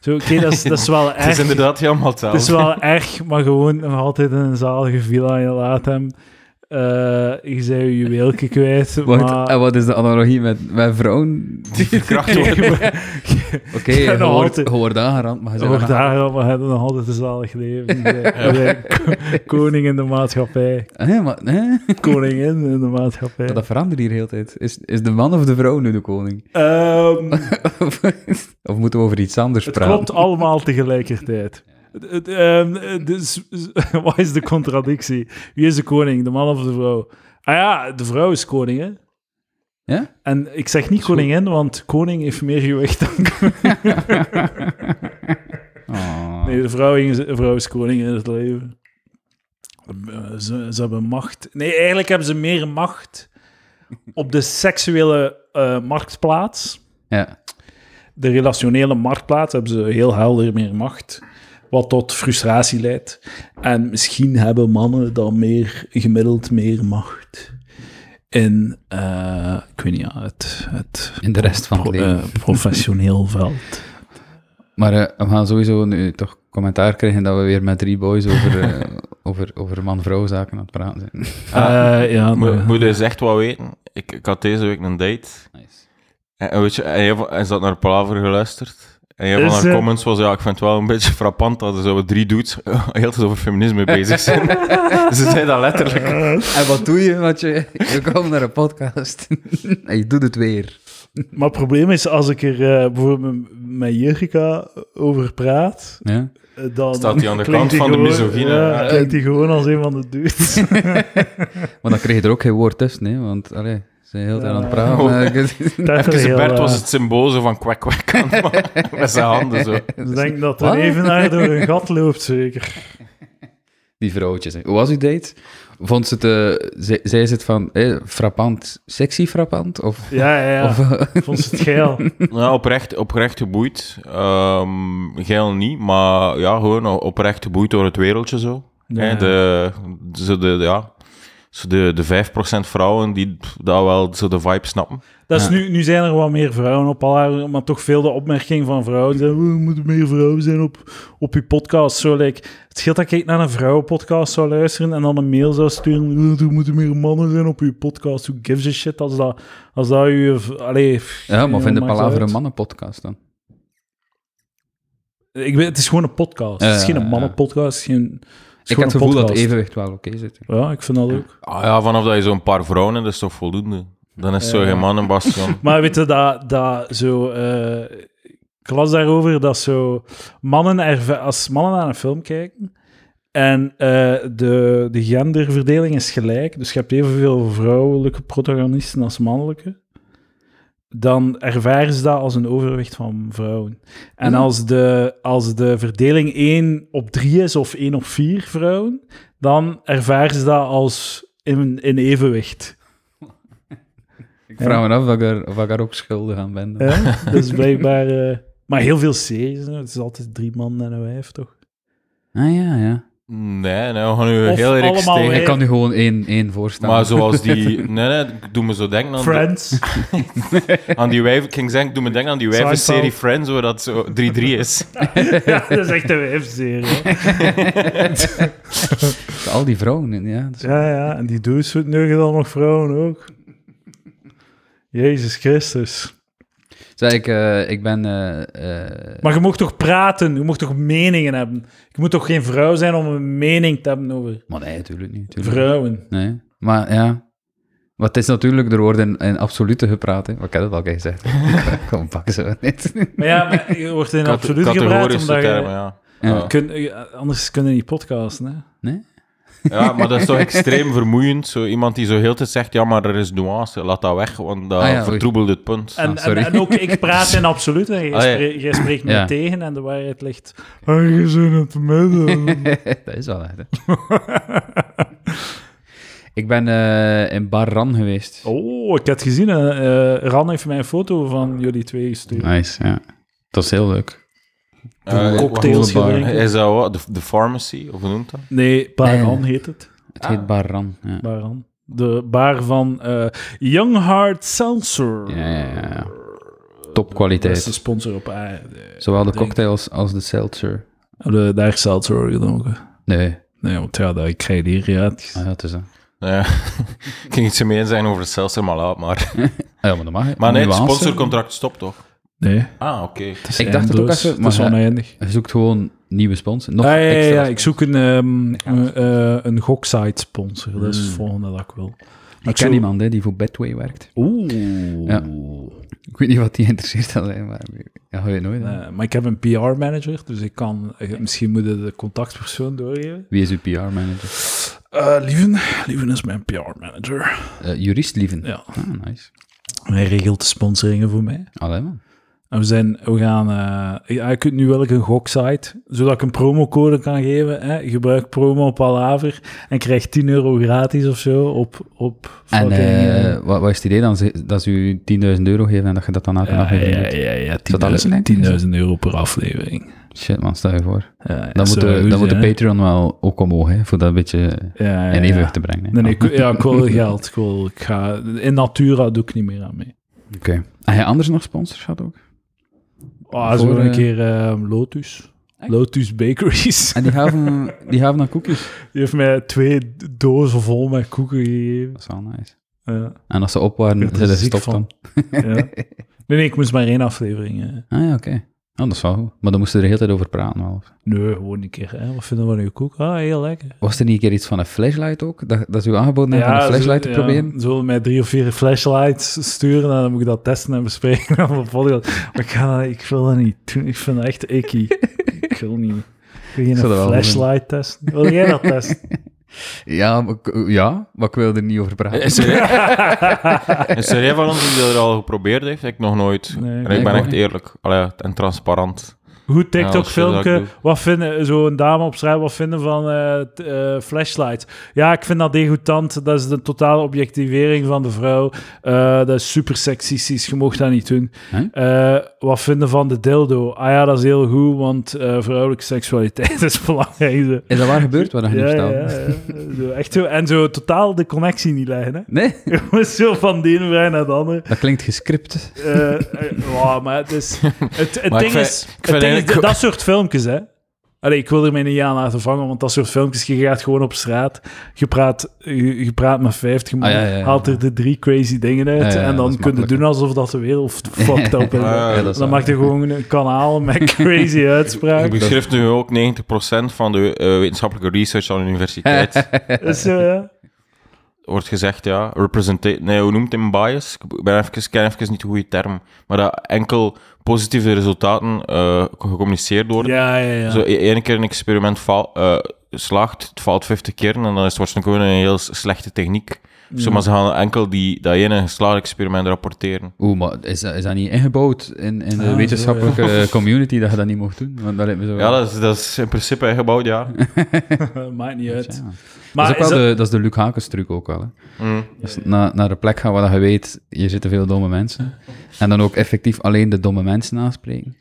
S1: Zo, oké, dat, is- dat is wel
S3: na. Het is
S1: erg.
S3: inderdaad helemaal
S1: Het is
S3: hetzelfde.
S1: wel erg, maar gewoon nog altijd in een zalige villa in Latem. Eh je zei je juweeltje kwijt,
S2: Wacht,
S1: maar...
S2: en wat is de analogie met, met vrouwen?
S3: Die verkracht worden.
S2: Oké,
S1: Ja,
S2: je
S1: dat
S2: hoort,
S1: hoort-
S2: je wordt aangerand, maar je bent
S1: Ook
S2: aan-
S1: daarom, we hebben nog altijd een zalig leven. We zijn- we zijn ko- Koning in de maatschappij.
S2: Hè, maar, hè?
S1: koningin in de maatschappij.
S2: Maar dat verandert hier de hele tijd. Is, is de man of de vrouw nu de koning?
S1: Ehm,
S2: of moeten we over iets anders
S1: het
S2: praten?
S1: klopt allemaal tegelijkertijd. Het- het, ehm, eh, dus, s- wat is de contradictie? Wie is de koning, de man of de vrouw? Ah ja, de vrouw is koning, hè?
S2: Ja?
S1: En ik zeg niet
S2: goed.
S1: koningin, want koning heeft meer gewicht dan...
S2: Oh.
S1: Nee, de vrouw, is- de vrouw is koning in het leven. Eh, Ze, ze hebben macht. Nee, eigenlijk hebben ze meer macht op de seksuele eh, marktplaats.
S2: Ja.
S1: de relationele marktplaats hebben ze heel helder meer macht. Wat tot frustratie leidt. En misschien hebben mannen dan meer, gemiddeld meer macht. In, eh, ik weet niet, het, het
S2: In de rest van het
S1: pro-
S2: leven.
S1: eh, professioneel veld.
S2: Maar eh, we gaan sowieso nu toch commentaar krijgen dat we weer met drie boys over, eh, over, over man-vrouw zaken aan het praten zijn.
S1: Eh, ja,
S3: Mo-
S1: maar-
S3: Moet je eens echt wat weten? Ik, ik had deze week een date.
S2: Nice.
S3: En, en weet je, en een van- en ze had naar Palaver geluisterd. En een
S1: Is
S3: van haar
S1: het?
S3: comments was, ja, ik vind het wel een beetje frappant dat er zo drie dudes heel de tijd over feminisme bezig zijn. ze zei dat letterlijk.
S1: Ah,
S2: En wat doe je? Want je, je komt naar een podcast en je doet het weer.
S1: maar het probleem is, als ik er eh, bijvoorbeeld met Jurgica over praat,
S2: Ja?
S1: eh, dan...
S3: Staat hij aan de
S1: klinkt
S3: kant
S1: die
S3: van de
S1: gewoon-
S3: misogyne.
S1: Ja,
S3: Ja.
S1: klinkt hij gewoon als een van de dudes.
S2: Want dan krijg je er ook geen woord tussen, hè? want allee, ze zijn heel tijd aan het praten.
S3: Oh.
S2: maar ik-
S1: Dat is
S3: Even
S1: heel,
S3: Bert
S1: eh,
S3: was het symbool zo van kwak kwak aan het maken. met zijn handen zo.
S1: Ik denk dat
S2: Wat?
S1: er even naar door een gat loopt, zeker.
S2: Die vrouwtjes. hè. Hoe was uw date? Vond ze het, eh, ze- zei ze het van eh, frappant, sexy frappant? Of,
S1: Ja, ja, ja.
S2: of eh,
S1: Vond ze het geil.
S3: Ja, oprecht, oprecht geboeid. Ehm geil niet, maar ja, gewoon oprecht geboeid door het wereldje zo. Hè, de, zo de, ja. zo de, de 5% vrouwen die pff, daar wel zo de vibe snappen.
S1: Dat is
S2: Ja.
S1: nu, nu zijn er wat meer vrouwen op al haar, maar toch veel de opmerking van vrouwen. die Zeggen, we moeten meer vrouwen zijn op, op je podcast. Zo, like, het scheelt dat ik naar een vrouwenpodcast zou luisteren en dan een mail zou sturen. "Eh, Er moeten meer mannen zijn op je podcast. Who gives a shit als dat, als dat je... Allee, pff,
S2: Ja, maar
S1: eh,
S2: vind de
S1: maakt dat
S2: Palaver
S1: uit.
S2: een mannenpodcast dan?
S1: Ik weet, het is gewoon een podcast. het is
S2: Eh,
S1: geen
S2: ja.
S1: mannenpodcast. het is geen- het is
S2: Ik
S1: gewoon
S2: heb het
S1: een
S2: gevoel dat
S1: podcast.
S2: evenwicht wel oké zit.
S1: Ja, ik vind dat ook.
S3: Ah ja, vanaf dat je zo'n paar vrouwen hebt, dat is toch voldoende? Dan is het zo
S1: Ja.
S3: geen man en Bastian.
S1: Maar weet je, dat, dat zo... eh, ik las daarover dat zo... Mannen erva- als mannen naar een film kijken... En eh, de, de genderverdeling is gelijk, dus je hebt evenveel vrouwelijke protagonisten als mannelijke. Dan ervaren ze dat als een overwicht van vrouwen. En
S2: Ja.
S1: als de, als de verdeling 1 op 3 is of 1 op 4 vrouwen, dan ervaren ze dat als in, in evenwicht.
S2: Ik vraag me af of ik, daar, of ik daar ook schuldig aan ben. dan.
S1: Ja, dus blijkbaar... eh, maar heel veel series, hè. het is altijd drie man en een wijf, toch?
S2: Ah ja, ja.
S3: Nee, nee, we gaan nu
S1: Of
S3: heel erg
S1: allemaal
S3: tegen.
S1: weer.
S2: Ik kan nu gewoon één, één voorstellen.
S3: Maar zoals die... Nee, nee, ik doe me zo denken aan... de-
S1: Friends.
S3: Aan die wijven, ik ging zeggen, ik doe me denken aan die wijvenserie
S1: Seinfeld.
S3: Friends, waar dat zo 3-3 is.
S1: ja, dat is echt een wijfserie. hè.
S2: Al die vrouwen, in, ja. Dat is-
S1: Ja, ja, en die doosvoet neugen dan nog vrouwen ook. Jezus Christus.
S2: Zeg, ik, eh, ik ben... eh, eh,
S1: Maar je mocht toch praten, je mocht toch meningen hebben. Je moet toch geen vrouw zijn om een mening te hebben over
S2: Maar nee, natuurlijk niet. tuurlijk niet.
S1: vrouwen.
S2: Nee. Maar ja... Maar het is natuurlijk, er wordt in, in absolute gepraat. Hè. Maar ik heb het al gezegd. Kom, pak ze niet.
S1: Maar ja, maar je wordt in
S3: Cate-
S1: absoluut gepraat,
S3: Categorische
S1: omdat
S3: termen,
S1: je...
S3: ja.
S2: Ja.
S3: Ja.
S1: Kun, eh, anders kunnen die podcasten, hè.
S3: Ja, maar dat is toch extreem vermoeiend. Zo iemand die zo heel de tijd zegt, ja, maar er is nuance, laat dat weg, want dat
S2: Ah ja, oei.
S3: vertroebelt het punt.
S1: En,
S2: Ah, sorry.
S1: en, en ook ik praat in absoluut en jij,
S3: Ah, ja.
S1: spree- jij spreekt me
S2: Ja.
S1: tegen en de waarheid ligt ergens in het midden.
S2: dat is wel echt, hè. Ik ben eh, in Bar Ran geweest.
S1: Oh, ik had gezien. eh, eh, Ran heeft mij een foto van jullie twee gestuurd.
S2: Nice, ja. Dat is heel leuk.
S3: Eh,
S2: Een
S1: cocktail
S3: wacht,
S1: gedronken.
S3: wacht, Is dat wat? De, de pharmacy, of hoe noemt dat?
S1: Nee, Baran
S2: Nee.
S1: heet het.
S2: Het
S3: Ah.
S2: heet Bar Ran, ja.
S1: Baran. De bar van eh, Young Heart Seltzer.
S2: Ja, ja, ja, ja.
S1: Dat is de
S2: Topkwaliteit.
S1: sponsor op aarde.
S2: Zowel de
S1: drink.
S2: cocktails als de seltzer.
S1: Hebben we daar Seltzer gedronken?
S2: Nee,
S1: Nee, want ja, dat, ik krijg het hier gratis.
S2: ah, ja, het is dat.
S3: Nee, ik ging iets meer zijn over het Seltzer, maar laat maar.
S2: Ah, ja, maar dat mag. hè.
S3: Maar nee, het
S2: Nuance.
S3: sponsorcontract stopt toch?
S1: Nee,
S3: Ah, oké.
S1: het is
S2: Ik dacht het ook
S1: eindeloos.
S2: even,
S1: Het is
S2: maar- eh,
S1: oneindig.
S2: Je zoekt gewoon nieuwe sponsor. Nog
S1: Ah, ja, ja,
S2: extra
S1: ja, ik zoek een, ehm een, eh, een goksite sponsor. Dat is het
S2: Hmm.
S1: volgende dat ik wil. Maar
S2: Ik ken iemand hè, die voor Betway werkt.
S1: Oeh.
S2: Ja. Ik weet niet wat die interesseert alleen, maar ja, je weet nooit. hè.
S1: Eh, maar ik heb een PR-manager, dus ik kan... eh, misschien moet je de contactpersoon doorgeven.
S2: Wie is uw PR-manager?
S1: Eh, Lieven. Lieven is mijn PR-manager.
S2: Eh jurist Lieven.
S1: Ja.
S2: Ah, nice.
S1: Hij regelt de sponsoringen voor mij.
S2: Allee, man.
S1: En we, zijn, we gaan... eh ja, je kunt nu wel een goksite, zodat ik een promocode kan geven. Hè? Gebruik promo Palaver en krijg 10 euro gratis of zo op... op
S2: En
S1: fucking, eh,
S2: eh, wat, wat is het idee dan? Ze- Dat ze u 10.000 euro geven en dat je dat dan af en
S1: Ja,
S2: af
S1: ja, ja,
S2: doet?
S1: ja, ja,
S2: dat alles
S1: 10.000
S2: in één keer?
S1: 10.000 euro per aflevering.
S2: Shit man, stel je voor.
S1: Ja, ja,
S2: Dan, moet
S1: zo
S2: de,
S1: goed,
S2: dan moet de
S1: hè.
S2: Patreon wel ook omhoog, hè, voor dat een beetje
S1: Ja, ja,
S2: in evenwicht
S1: ja.
S2: te brengen. hè.
S1: Nee, nee, ik, ja, ik wil geld. Ik wil, ik ga, in Natura doe ik niet meer aan mee.
S2: Oké. Heb je anders nog sponsors gehad ook?
S1: Ah, zo
S2: Voor,
S1: een
S2: eh,
S1: keer eh, Lotus.
S2: Echt?
S1: Lotus Bakeries.
S2: En die gaven, die gaven dan koekjes.
S1: Die heeft mij twee dozen vol met koeken gegeven.
S2: Dat is wel nice.
S1: Ja,
S2: En als ze op
S1: ik
S2: waren,
S1: werd er
S2: ze
S1: ziek
S2: stopt dan.
S1: van. Ja. Nee, nee, ik moest maar één aflevering. eh, hè.
S2: Ah ja, oké. Ah, dat is wel goed. Maar dan moesten we er de hele tijd over praten. Wel.
S1: Nee, gewoon een keer. Hè. Wat vinden we van uw koek? Ah, heel lekker.
S2: Was er niet een keer iets van een flashlight ook? Dat, dat ze u aangeboden hebben om een
S1: zo-
S2: flashlight te
S1: ja,
S2: proberen?
S1: Zullen we mij drie of vier flashlights sturen en dan moet ik dat testen en bespreken op de podcast. Maar ik, ga, dat- ik wil dat niet doen. Ik vind dat echt icky. ik wil niet. Kun je een
S2: zou dat wel
S1: flashlight testen? Wil jij dat testen?
S2: Ja, maar, ik- ja, maar ik wil er niet over praten.
S3: Is er, is er een van ons die dat al geprobeerd heeft? Ik nog nooit.
S1: Nee,
S3: en
S1: nee,
S3: ik
S2: ik
S3: ben echt
S2: ook niet.
S3: eerlijk Allee, en transparant.
S1: Goed
S3: Ja, als je dat
S1: TikTok-filmpje.
S3: doet.
S1: wat vinden, zo'n dame op straat, wat vinden van eh, t- eh, flashlights? Ja, ik vind dat degoutant. Dat is de totale objectivering van de vrouw. Eh, dat is super seksistisch, je mocht dat niet doen.
S2: Huh?
S1: Eh, wat vinden van de dildo? Ah ja, dat is heel goed, want eh, vrouwelijke seksualiteit is belangrijk.
S2: Is dat waar gebeurd, wat je nu
S1: Ja, ja,
S2: vertelt?
S1: ja. Zo, echt zo. En zo totaal de connectie niet leggen, hè.
S2: Nee,
S1: Gewoon zo van de ene vrij naar de andere.
S2: dat klinkt gescript.
S1: Eh, eh, wow, maar het is... Het, het
S3: Maar ik
S1: ding
S3: vind-
S1: is... het
S3: ik vind
S1: ding is,
S3: eigenlijk-
S1: dat soort filmpjes, hè. Allee, ik wil er mij niet aan laten vangen, want dat soort filmpjes, je gaat gewoon op straat, je praat, je, je praat met 50 man,
S2: Ah, ja, ja, ja.
S1: haalt er de drie crazy dingen uit,
S2: Ja, ja, ja,
S1: en
S2: dat is
S1: dan kun je
S2: makkelijk,
S1: doen alsof dat de wereld fucked up is.
S3: Ja,
S1: En
S3: dat is
S1: dan maakt je gewoon een kanaal met crazy
S3: Je
S1: uitspraken.
S3: beschrijft nu ook 90% van de eh, wetenschappelijke research aan de universiteit.
S1: Dus, eh,
S3: Wordt gezegd, ja, representate... Nee, hoe noemt het een bias? Ik ben even, ken even niet de goede term. Maar dat enkel positieve resultaten eh, gecommuniceerd worden.
S1: ja, ja, ja.
S3: Zo, e- ene keer een experiment faal- eh, slaagt, het faalt 50 keer en dan is het waarschijnlijk gewoon een heel s- slechte techniek. Zo, maar ze gaan enkel die, dat ene geslaagde experiment rapporteren.
S2: Oeh, maar is dat, is dat niet ingebouwd in, in de
S1: Ah,
S2: wetenschappelijke community dat je dat niet mocht doen? Want dat lijkt me zo...
S3: Ja, dat is, dat is in principe ingebouwd, ja.
S1: Maakt niet uit.
S2: Ja.
S1: Maar
S2: dat is ook
S1: is
S2: wel
S1: dat-
S2: de, dat is de Luc Hakens truc ook wel. Hè.
S3: Mm.
S2: Dus na- naar een plek gaan waar je weet, hier zitten veel domme mensen. En dan ook effectief alleen de domme mensen aanspreken.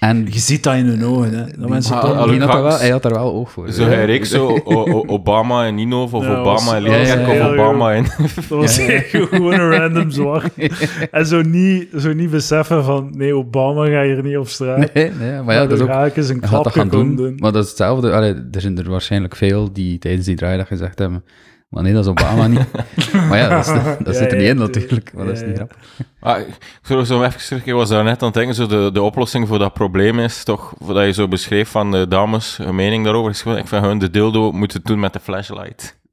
S2: En
S1: je ziet dat in hun ogen, hè. Dat mensen
S3: maar-
S1: toch...
S3: Luc
S2: hij had, daar wel,
S3: Hakens.
S2: hij had daar wel oog voor.
S3: Zo
S2: Ja.
S3: hij reeks zo o- o- Obama en Ninov of
S1: Ja, dat was-
S3: Obama en
S1: dat
S2: was
S3: Lezak
S2: heel
S3: of
S1: goed.
S3: Obama en...
S1: Dat was echt gewoon een random zwart. En zo niet, zo niet beseffen van, nee, Obama gaat hier niet op straat.
S2: Nee, nee, maar ja, dat is ook...
S1: raak eens een
S2: Hij gaat dat
S1: klapje
S2: gaan
S1: komen
S2: doen,
S1: doen.
S2: maar dat is hetzelfde. Allee, er zijn er waarschijnlijk veel die tijdens die draaidag gezegd hebben... Maar nee, dat is Obama niet. maar ja, dat, is, dat
S1: Ja,
S2: zit er niet
S1: ja,
S2: in
S1: tuurlijk.
S2: natuurlijk. Maar dat is
S1: Ja,
S2: niet
S1: ja.
S2: grappig.
S3: Ah, ik- ik was zo even terug, ik was daar net aan het denken, zo de, de oplossing voor dat probleem is toch, dat je zo beschreef van de dames, hun mening daarover is gewoon, ik vind hun de dildo moeten doen met de flashlight.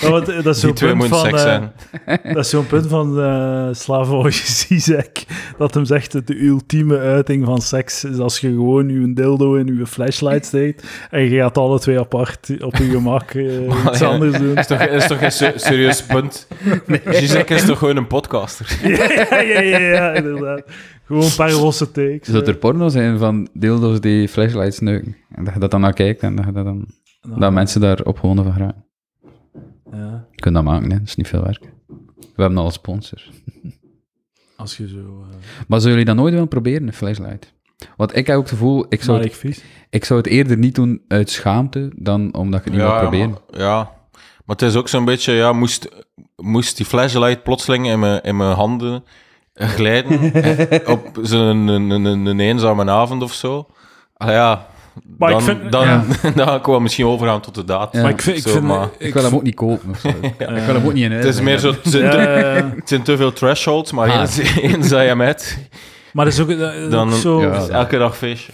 S1: Ja, want, eh, dat is
S3: Die
S1: zo'n
S3: twee
S1: punt
S3: moeten
S1: van, eh,
S3: seks zijn.
S1: dat is zo'n punt van eh Slavoj Zizek, dat hem zegt dat de ultieme uiting van seks is als je gewoon je dildo in je flashlight steekt en je gaat alle twee apart op je gemak eh, iets
S3: ja.
S1: anders doen.
S3: Dat is toch, dat is toch een se- serieus punt? Zizek is toch gewoon een podcaster?
S1: ja, ja, ja, ja, inderdaad. Gewoon een paar losse takes.
S2: Zou er porno zijn van dildo's die flashlights neuken? En dat je dat dan naar kijkt en dat, je dat, dan,
S1: Nou,
S2: dat mensen daar opgewonden van geraken.
S1: ja,
S2: Je kunt dat maken, hè. dat is niet veel werk. We hebben al een sponsor.
S1: als je zo... eh,
S2: Maar zullen jullie dat nooit willen proberen, een flashlight? Want ik heb ook het gevoel, ik zou,
S1: Maar
S2: het,
S1: ik vies.
S2: ik zou het eerder niet doen uit schaamte dan omdat ik het niet wil proberen.
S3: Maar, ja, maar het is ook zo'n beetje, ja, moest, moest die flashlight plotseling in mijn, in mijn handen glijden op zo'n een, een, een, een eenzame avond of zo. Ah ja,
S1: Maar ik
S3: dan,
S1: vind-
S3: dan,
S2: ja.
S3: dan kan ik wel misschien overgaan tot de daad.
S2: Ja.
S1: Maar ik vind... Ik
S3: Zo,
S1: vind
S3: maar-
S2: Ik, wil hem ook niet kopen of zo. Ik wil hem ook niet in huis
S3: Het is meer
S2: hebben.
S3: zo, het zijn, te,
S1: Ja,
S3: het zijn te veel thresholds, maar
S2: Ah.
S3: eens, eens dat je hem hebt,
S1: maar dat is ook, dat is
S3: Dan-
S1: ook zo
S2: ja.
S3: is het elke dag feestje.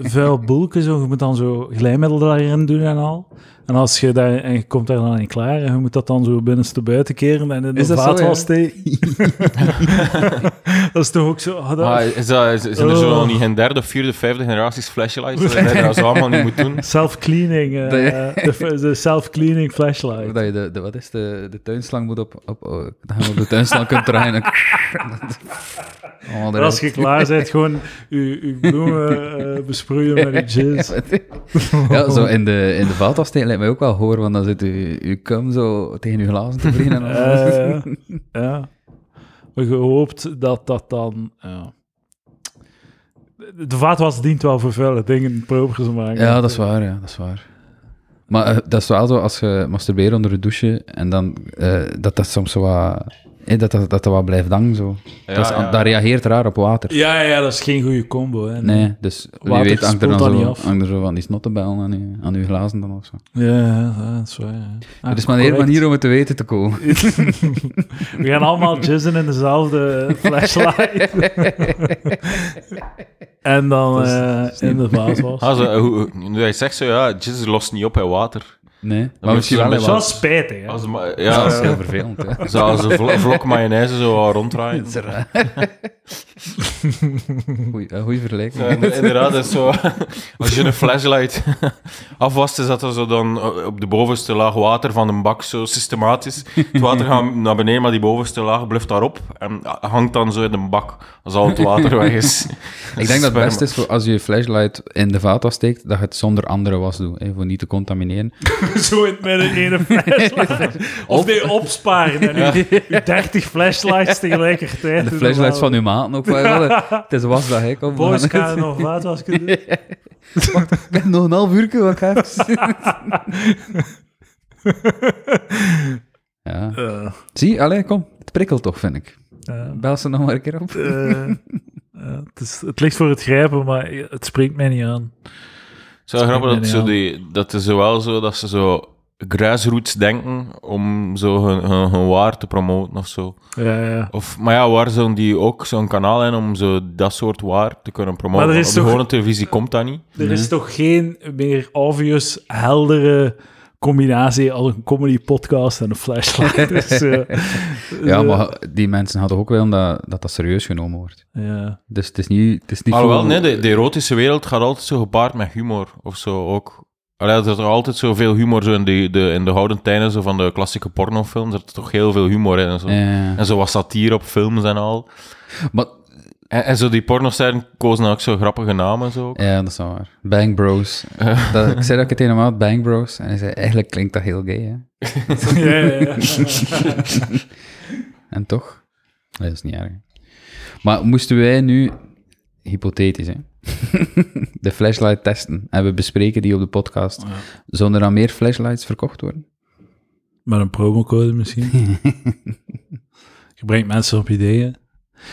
S1: vuil boelke. Zo. Je moet dan zo glijmiddel daarin doen en al. En als je daar... En je komt daar dan in klaar en je moet dat dan zo binnenste buiten keren en in de
S2: Is dat zo,
S1: vaatwal
S2: ja?
S1: steken. dat is toch ook zo... ah, dat-
S3: Maar is dat, is, zijn er zo
S1: Oh.
S3: nog niet geen derde, vierde, vijfde generaties flashlights dat je dat zo allemaal niet moet doen?
S1: Self-cleaning. eh,
S2: Dat-
S1: de, de self-cleaning
S2: Of
S1: flashlight.
S2: Dat je de, de, wat is de, de tuinslang moet op, op, oh, dat je hem op de tuinslang kunt draaien. en-
S1: En
S2: Oh,
S1: als je klaar bent, gewoon je, je bloemen eh, besproeien met je jeans.
S2: Ja, zo in de, in de vaatafsteen lijkt mij ook wel hoor, want dan zit je, je cum zo tegen je glazen te vliegen. En alles.
S1: Eh, ja. Maar je hoopt dat dat dan. Ja. De vaatwas dient wel voor vuile dingen proper te maken.
S2: Ja, dat is waar, ja, dat is waar. Maar eh, dat is wel zo, als je masturbeert onder de douche, en dan, eh, dat dat soms zo wat... eh, dat, dat, dat dat wat blijft hangen, zo. dat, is,
S3: Ja, ja.
S2: dat reageert raar op water.
S1: Ja, ja, dat is geen goede combo. Hè.
S2: Nee, dus wie
S1: Water
S2: weet hangt er, dan
S1: spoelt dat
S2: zo,
S1: niet af.
S2: hangt er zo van die snottenbellen aan je, aan je glazen dan of zo.
S1: Ja, ja, ja, dat is waar. Ja. Ah,
S2: er is maar een hele
S1: correct.
S2: manier om het te weten te komen.
S1: We gaan allemaal jizzen in dezelfde flashlight. en dan eh, in de vaatwas.
S3: Ah, zo, hoe- hoe- nu hij zegt zo, ja, jizz lost niet op bij water.
S2: Nee,
S3: moet
S2: maar misschien
S3: je
S2: wel
S1: Dat
S3: zo'n
S2: wel.
S1: is wel spijtig, hè?
S3: Als een ma-
S2: Ja, dat is
S3: ja,
S2: heel vervelend. Hè.
S3: zo als een vlo- vlok mayonaise zo ronddraaien.
S2: Dat is raar. Goeie, eh, goeie vergelijking.
S3: Ja, inder- inderdaad, dat is zo. Als je een flashlight afwast, is dat er zo dan eh, op de bovenste laag water van een bak zo systematisch. Het water gaat naar beneden, maar die bovenste laag bluft daarop en hangt dan zo in een bak als al het water weg is.
S2: Ik denk dat het best is voor als je je flashlight in de vaatwas steekt, dat je het zonder andere was doet, hè, voor niet te contamineren.
S1: Zo in het midden ene flashlight. Of nee, opsparen. En uw- uw 30 flashlights tegelijkertijd.
S2: En de flashlights van uw maat ook wel. hè. Het is was dat ik op.
S1: Boys, kan je nog wat was kunnen doen?
S2: Ik heb nog een half uur, wat ga ik Ja.
S1: Eh,
S2: Zie, allee, kom. Het prikkelt toch, vind ik.
S1: eh,
S2: Bel ze nog maar een keer op.
S1: eh, eh, het, is, het ligt voor het grijpen, maar het spreekt mij niet aan.
S3: Het is wel grappig dat,
S1: Ja,
S3: zo
S1: ja.
S3: die, dat is wel zo dat ze zo grassroots denken om zo hun, hun, hun waar te promoten of zo.
S1: Ja, ja.
S3: Of, maar ja, waar zo'n die ook zo'n kanaal in om zo dat soort waar te kunnen promoten?
S1: Maar er is
S3: Op de
S1: toch-
S3: gewone televisie komt dat niet.
S1: Er is toch geen meer obvious, heldere combinatie als een comedy podcast en een flashlight. Dus, eh,
S2: Ja,
S1: eh,
S2: maar die mensen hadden ook wel dat dat, dat serieus genomen wordt.
S1: ja.
S2: Dus het is niet... Het is niet
S3: Alhoewel,
S2: voor-
S3: nee, de, de erotische wereld gaat altijd zo gepaard met humor of zo ook. Allee, er is toch altijd zoveel humor zo in, de, de, in de gouden tijden zo van de klassieke pornofilms. Er is toch heel veel humor in en zo.
S2: Ja.
S3: En zo was satire op films en al.
S2: Maar,
S3: En, en zo die pornostijden kozen dan ook zo grappige namen en zo. ook.
S2: ja, dat is wel waar. Bang Bros. Dat, ik zei dat ik het tegen hem had, Bang Bros. En hij zei, eigenlijk klinkt dat heel gay, hè.
S1: ja, ja, ja.
S2: En toch? Nee, Dat is niet erg. Maar moesten wij nu, hypothetisch hè, de flashlight testen en we bespreken die op de podcast, zouden er dan meer flashlights verkocht worden?
S1: Met een promocode misschien. je brengt mensen op ideeën.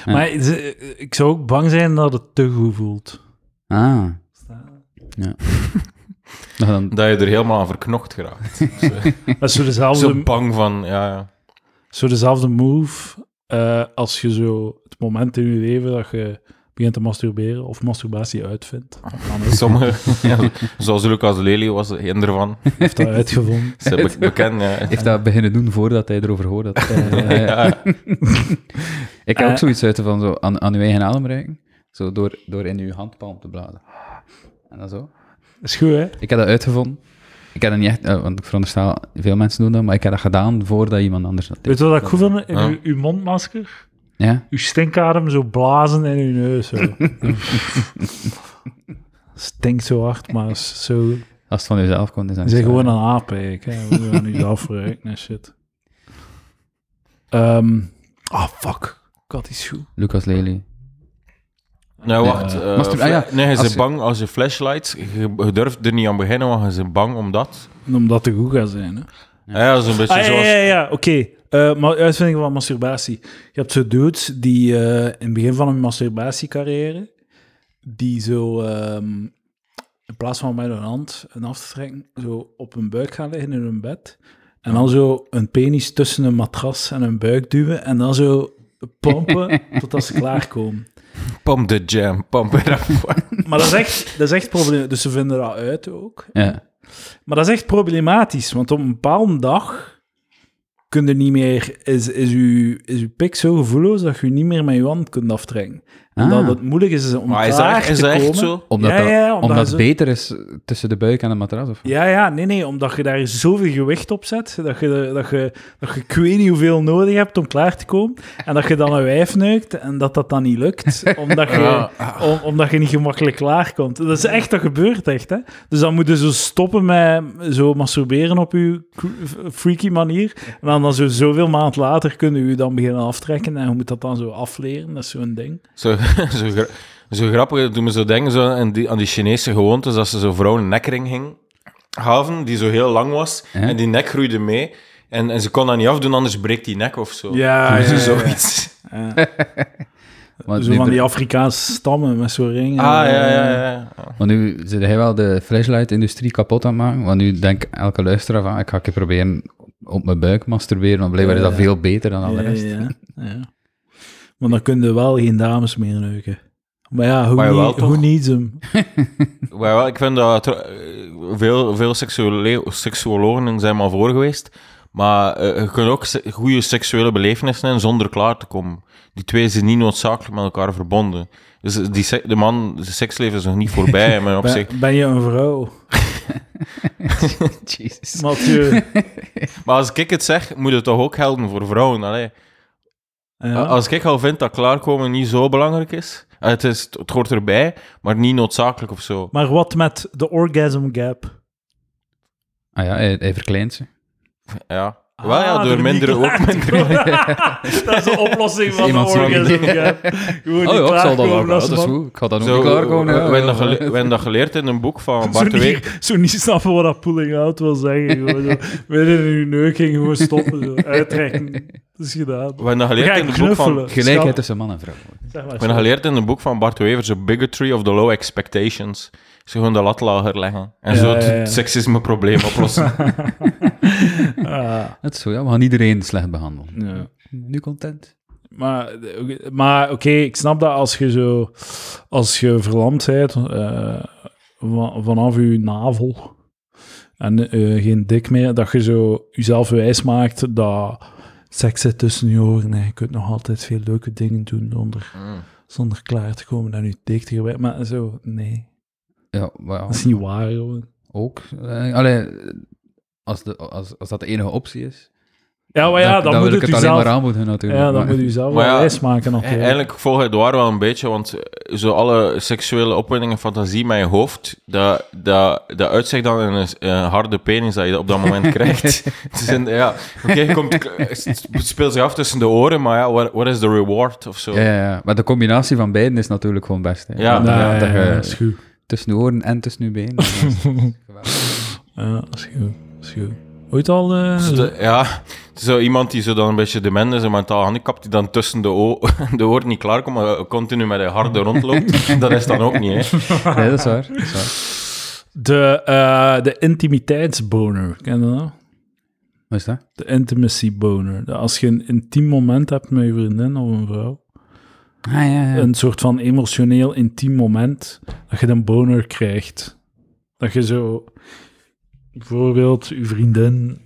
S2: Ja.
S1: Maar ze- ik zou ook bang zijn dat het te goed voelt.
S2: Ah. Ja. Nou, dan,
S3: Dat je er helemaal aan verknocht geraakt.
S1: Dat is zo
S3: zo
S1: dezelfde,
S3: bang van, ja, ja.
S1: zo dezelfde move eh, als je zo het moment in je leven dat je begint te masturberen of masturbatie uitvindt. Dat kan ook.
S3: Sommige, ja, zoals Lucas Lely was een ervan.
S1: heeft dat uitgevonden.
S3: Ze be- bekend, ja.
S2: heeft dat beginnen doen voordat hij erover hoorde. dat-
S3: Ja.
S2: Ik heb ook
S1: Eh.
S2: zoiets uit van zo aan, aan uw eigen adem ruiken. Zo door, door in uw handpalm te blazen. En dan zo.
S1: Is goed, hè?
S2: Ik heb dat uitgevonden. Ik heb dat niet echt, eh, want ik veronderstel, veel mensen doen dat, maar ik heb dat gedaan voordat iemand anders dat deed.
S1: Weet je wat ik goed vind? In
S3: Ja.
S1: uw, uw mondmasker,
S2: Ja?
S1: uw stinkadem zo blazen in uw neus. Zo. Stinkt zo hard, maar is zo...
S2: Als het van jezelf komt, is dat
S1: Ze
S2: niet
S1: zijn
S2: zo
S1: gewoon
S2: erg.
S1: een aap, eigenlijk. Hè. We gaan niet afrekenen en shit. Ehm, Ah, fuck. Ik had iets goed.
S2: Lucas Lely.
S3: Nou, wacht.
S2: Ja.
S3: eh,
S2: Mastur- ah,
S3: fla-
S2: ja.
S3: Nee, je
S2: Als
S3: bent
S2: je-
S3: bang als je flashlights... Je, je durft er niet aan beginnen, want je bent bang omdat...
S1: Omdat te goed gaat zijn, hè.
S3: Ja, ja, dat is een beetje
S1: Ah, ja,
S3: zoals...
S1: ja, ja, oké. Eh, maar uitvinding van masturbatie. Je hebt zo dudes die eh, in het begin van hun masturbatiecarrière, die zo ehm, in plaats van met hun hand een af te trekken, zo op hun buik gaan liggen in hun bed. En dan zo een penis tussen een matras en hun buik duwen. En dan zo pompen totdat ze klaarkomen.
S3: Pump the jam, pump it up.
S1: Maar dat is echt, dat is echt probleem. Dus ze vinden dat uit ook.
S2: Ja.
S1: Maar dat is echt problematisch, want op een bepaalde dag kun je niet meer, is, is, uw, is uw pik zo gevoelloos dat je niet meer met je hand kunt aftrekken. En
S2: Ah.
S1: dat het moeilijk is om
S3: Maar is dat,
S1: klaar
S3: echt- is
S1: te
S3: dat
S1: komen.
S3: echt zo?
S2: Omdat,
S1: Ja,
S2: dat-
S1: ja, omdat
S2: omdat,
S1: hij
S2: het
S1: zo-
S2: beter is tussen de buik en de matras. Of...
S1: Ja, ja, nee, nee, omdat je daar zoveel gewicht op zet, dat je, er- dat je, dat je ik weet niet hoeveel nodig hebt om klaar te komen, en dat je dan een wijf neukt en dat dat dan niet lukt, omdat je,
S3: Ja.
S1: om- omdat je niet gemakkelijk klaar komt. Dat is echt, dat gebeurt echt, hè. Dus dan moet je zo stoppen met zo masturberen op je cr- freaky manier, en dan, dan zo, zoveel maand later kunnen je dan beginnen aftrekken, en je moet dat dan zo afleren, dat is zo'n ding.
S3: Zo, zo, gra- zo grappig, dat doet me zo denken zo aan, die, aan die Chinese gewoontes dat ze zo vrouwen een nekring hing, gaven, die zo heel lang was, en die nek groeide mee. En, en ze kon dat niet afdoen, anders breekt die nek of zo.
S1: Ja, ja, ja,
S3: Zo-
S1: ja.
S3: Zoiets.
S2: Want
S1: Zo
S2: nu,
S1: van die Afrikaanse stammen met zo'n ring.
S3: Ah, ja, ja, ja. ja.
S2: want nu zit hij wel de flashlight-industrie kapot aan het maken. Want nu denkt elke luisteraar van, "Ah, ik ga een keer proberen op mijn buik masturberen. Want blijkbaar is dat
S1: Ja.
S2: veel beter dan al de rest.
S1: Ja, ja, ja. Want dan kunnen wel geen dames meer neuken. Maar ja, hoe
S3: Maar jawel,
S1: need-
S3: toch?
S1: who needs hem?
S3: Maar ja, ik vind dat tr- veel, veel seksuele- seksuologen zijn maar voor geweest. Maar eh, je kunt ook se- goede seksuele belevenissen hebben zonder klaar te komen. Die twee zijn niet noodzakelijk met elkaar verbonden. Dus die, se- de man, zijn seksleven is nog niet voorbij. Maar op zich.
S1: Ben, ben je een vrouw?
S2: Jezus.
S1: Mathieu.
S3: Maar als ik het zeg, moet het toch ook gelden voor vrouwen. Allee.
S1: Ja.
S3: Als ik al vind dat klaarkomen niet zo belangrijk is, eh, het, is het hoort erbij, maar niet noodzakelijk of zo.
S1: Maar wat met de orgasm gap?
S2: Ah ja, hij, hij verkleint ze.
S3: Ja. Wel ja,
S1: Ah,
S3: door
S1: er niet
S3: mindere,
S1: klaar
S3: ook
S1: te
S3: mindere
S1: komen. dat is de oplossing van de
S2: iemand zo-
S1: orgasm gap. Gewoon
S2: Oh ja, ik zal dat wel.
S1: klaarkomen
S2: Dat
S1: als
S2: is
S1: ze
S2: goed. Ik ga dat ook
S3: Zo,
S2: niet klaarkomen. ja.
S3: we, we hebben dat gele- we hebben dat geleerd in een boek van
S1: Zo
S3: Bart de Weeg.
S1: niet, zo niet snappen wat dat pulling out wil zeggen. Gewoon zo, midden in uw neuk ging gewoon stoppen. Zo, uittrekken. Dat is gedaan.
S3: We hebben dat
S1: We
S3: geleerd in
S1: gaan
S3: het boek van...
S1: knuffelen.
S2: Gelijkheid
S1: Schat,
S2: tussen man en vrouw.
S1: zeg maar,
S3: We hebben geleerd in een boek van Bart Wevers, The Bigotry of the Low Expectations. Ze gewoon de lat lager leggen. En
S1: Ja,
S3: zo
S1: ja,
S3: het
S1: ja.
S3: seksisme-probleem oplossen.
S1: Ah.
S2: Dat is zo, ja. We gaan iedereen slecht behandelen.
S1: Ja.
S2: Nu content.
S1: Maar, maar oké, ik snap dat als je zo... Als je verlamd bent eh, va- vanaf je navel en eh, geen dik meer, dat je zo jezelf wijs maakt dat seks zit tussen je oren en je kunt nog altijd veel leuke dingen doen zonder,
S3: Mm.
S1: zonder klaar te komen en je dik te gebruiken. Maar zo, nee.
S2: Ja, wel,
S1: Dat is niet waar, gewoon.
S2: ook. eh, allee, als, de, als, als dat de enige optie is,
S1: Ja, maar ja,
S2: dan,
S1: dan,
S2: dan
S1: moet
S2: wil ik
S1: het
S2: het alleen maar
S1: jezelf...
S2: aanmoedigen natuurlijk.
S1: Ja, dan
S2: maar- eh,
S1: moet je jezelf
S3: Maar
S1: wel
S3: ja,
S1: wijs maken. natuurlijk.
S3: Eigenlijk volg je Edouard wel een beetje, want eh, zo alle seksuele opwinding en fantasie met je hoofd, dat, dat, dat uitzicht dan in een, s- een harde penis dat je op dat moment krijgt. Het is een- ja, oké, je komt- het speelt zich af tussen de oren, maar ja, what, what is the reward of zo?
S2: Ja, ja, ja. maar de combinatie van beiden is natuurlijk gewoon best. Hè.
S3: Ja.
S2: Want dan
S1: Nee,
S2: gaat er, eh,
S1: dat is goed.
S2: tussen de oren en tussen uw benen. Dat is geweldig.
S1: Ja, dat is goed. Dat is goed. Ooit al... eh,
S3: Dus de- ja, zo iemand die zo dan een beetje dement is en mentaal handicap, die dan tussen de, o- de oren niet klaarkomt, maar eh, continu met een harde rondloopt, dat is dan ook niet, hè.
S2: nee, dat is waar. Dat is waar.
S1: De, eh, de intimiteitsboner, ken je dat?
S2: Wat is dat?
S1: De intimacy boner. Dat Als je een intiem moment hebt met je vriendin of een vrouw,
S2: Ah, ja, ja.
S1: een soort van emotioneel intiem moment, dat je een boner krijgt. Dat je zo, bijvoorbeeld, je vriendin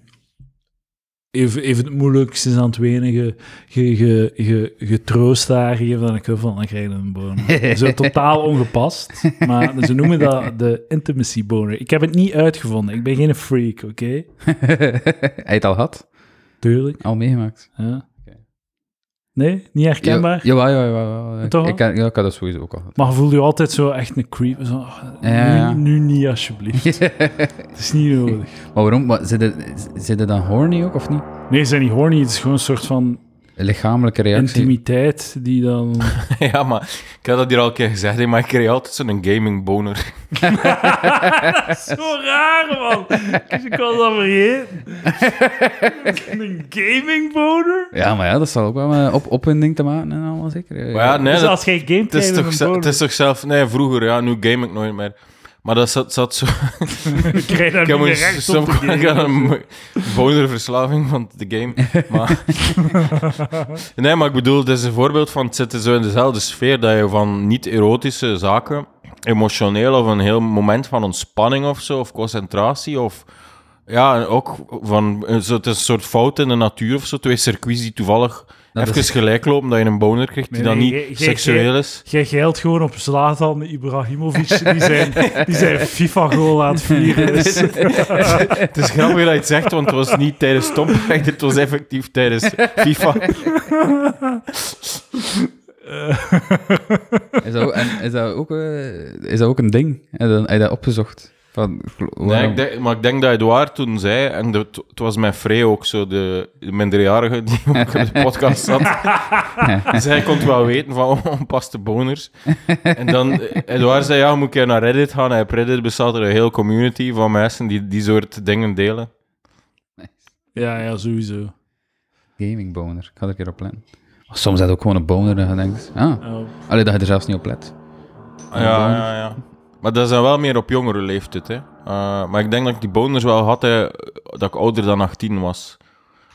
S1: even, even het moeilijk, ze is aan het wenigen, je, je, je, je troost haar, je geeft haar een knuffel en dan krijg je een boner. zo totaal ongepast, maar ze noemen dat de intimacy boner. Ik heb het niet uitgevonden, ik ben geen freak, oké?
S2: Hij het al had,
S1: Tuurlijk.
S2: al meegemaakt.
S1: Ja.
S2: Oké.
S1: Nee, niet herkenbaar?
S2: Ja, jawel, jawel, jawel. Ik,
S1: Toch wel?
S2: ik, had- ja, ik had dat sowieso ook al gehad.
S1: Maar voel je altijd zo echt een creep. Zo, ah,
S2: Ja, ja, ja.
S1: Nu, nu niet, alsjeblieft. Het is niet nodig.
S2: maar waarom? Wat, zit, het, zit het dan horny ook of niet?
S1: Nee, ze zijn niet horny. Het is gewoon een soort van
S2: Een Lichamelijke reactie.
S1: intimiteit die dan...
S3: Ja, maar ik had dat hier al een keer gezegd, hè, maar ik kreeg altijd zo'n gaming boner.
S1: zo raar, man. Ik was dat vergeten. een gaming boner?
S2: Ja, maar ja, dat zal ook wel met op opwinding te maken en allemaal zeker.
S3: Maar ja, nee,
S1: dus
S3: dat-
S1: als jij game
S3: het, is toch, ze-
S1: boner,
S3: het is toch zelf... Nee, vroeger, ja, nu game ik nooit meer. Maar dat zat, zat zo...
S1: dan krijg je daar
S3: Ik heb
S1: niet meer
S3: een,
S1: recht
S3: som-
S1: op dus. te
S3: ik had
S1: gamen.
S3: een mo- bonerverslaving van de game. Maar, nee, maar ik bedoel, dit is een voorbeeld van het zit zo in dezelfde sfeer dat je van niet-erotische zaken, emotioneel of een heel moment van ontspanning of zo, of concentratie of. Ja, en ook van eh, zo, het is een soort fout in de natuur of zo. Twee circuits die toevallig
S2: Nou, Dat is-
S3: even gelijk lopen, dat je een boner krijgt die
S1: Nee,
S3: dan
S1: nee,
S3: niet
S1: jij- jij-
S3: seksueel is.
S1: Jij geldt gewoon op Zlatan Ibrahimovic. Die zijn, die zijn FIFA-goal aan het vieren. is.
S3: Het is grappig dat je het zegt, want het was niet tijdens Stompweg, het was effectief tijdens FIFA.
S2: Is dat ook, en is dat ook, eh, is dat ook een ding? En dan heb je dat opgezocht? Van,
S3: Nee,
S2: waarom-
S3: ik denk, maar ik denk dat Edouard toen zei, en dat- het was met Frey ook zo, de, de minderjarige die ook op de podcast zat. Zij kon het wel weten van on- onpaste boners. En dan, eh, Edouard zei, ja, moet ik een keer naar Reddit gaan? En op Reddit bestaat er een hele community van mensen die die soort dingen delen.
S1: Ja, ja, sowieso.
S2: Gaming boner. Ik ga er een keer op letten. Maar soms heb je ook gewoon een boner dat je denkt... Ah,
S1: Ja.
S2: alleen dat je er zelfs niet op let.
S3: Ja, ja, ja. Maar dat is dan wel meer op jongere leeftijd, hè. Eh, maar ik denk dat ik die boners wel had, hè, dat ik ouder dan 18 was.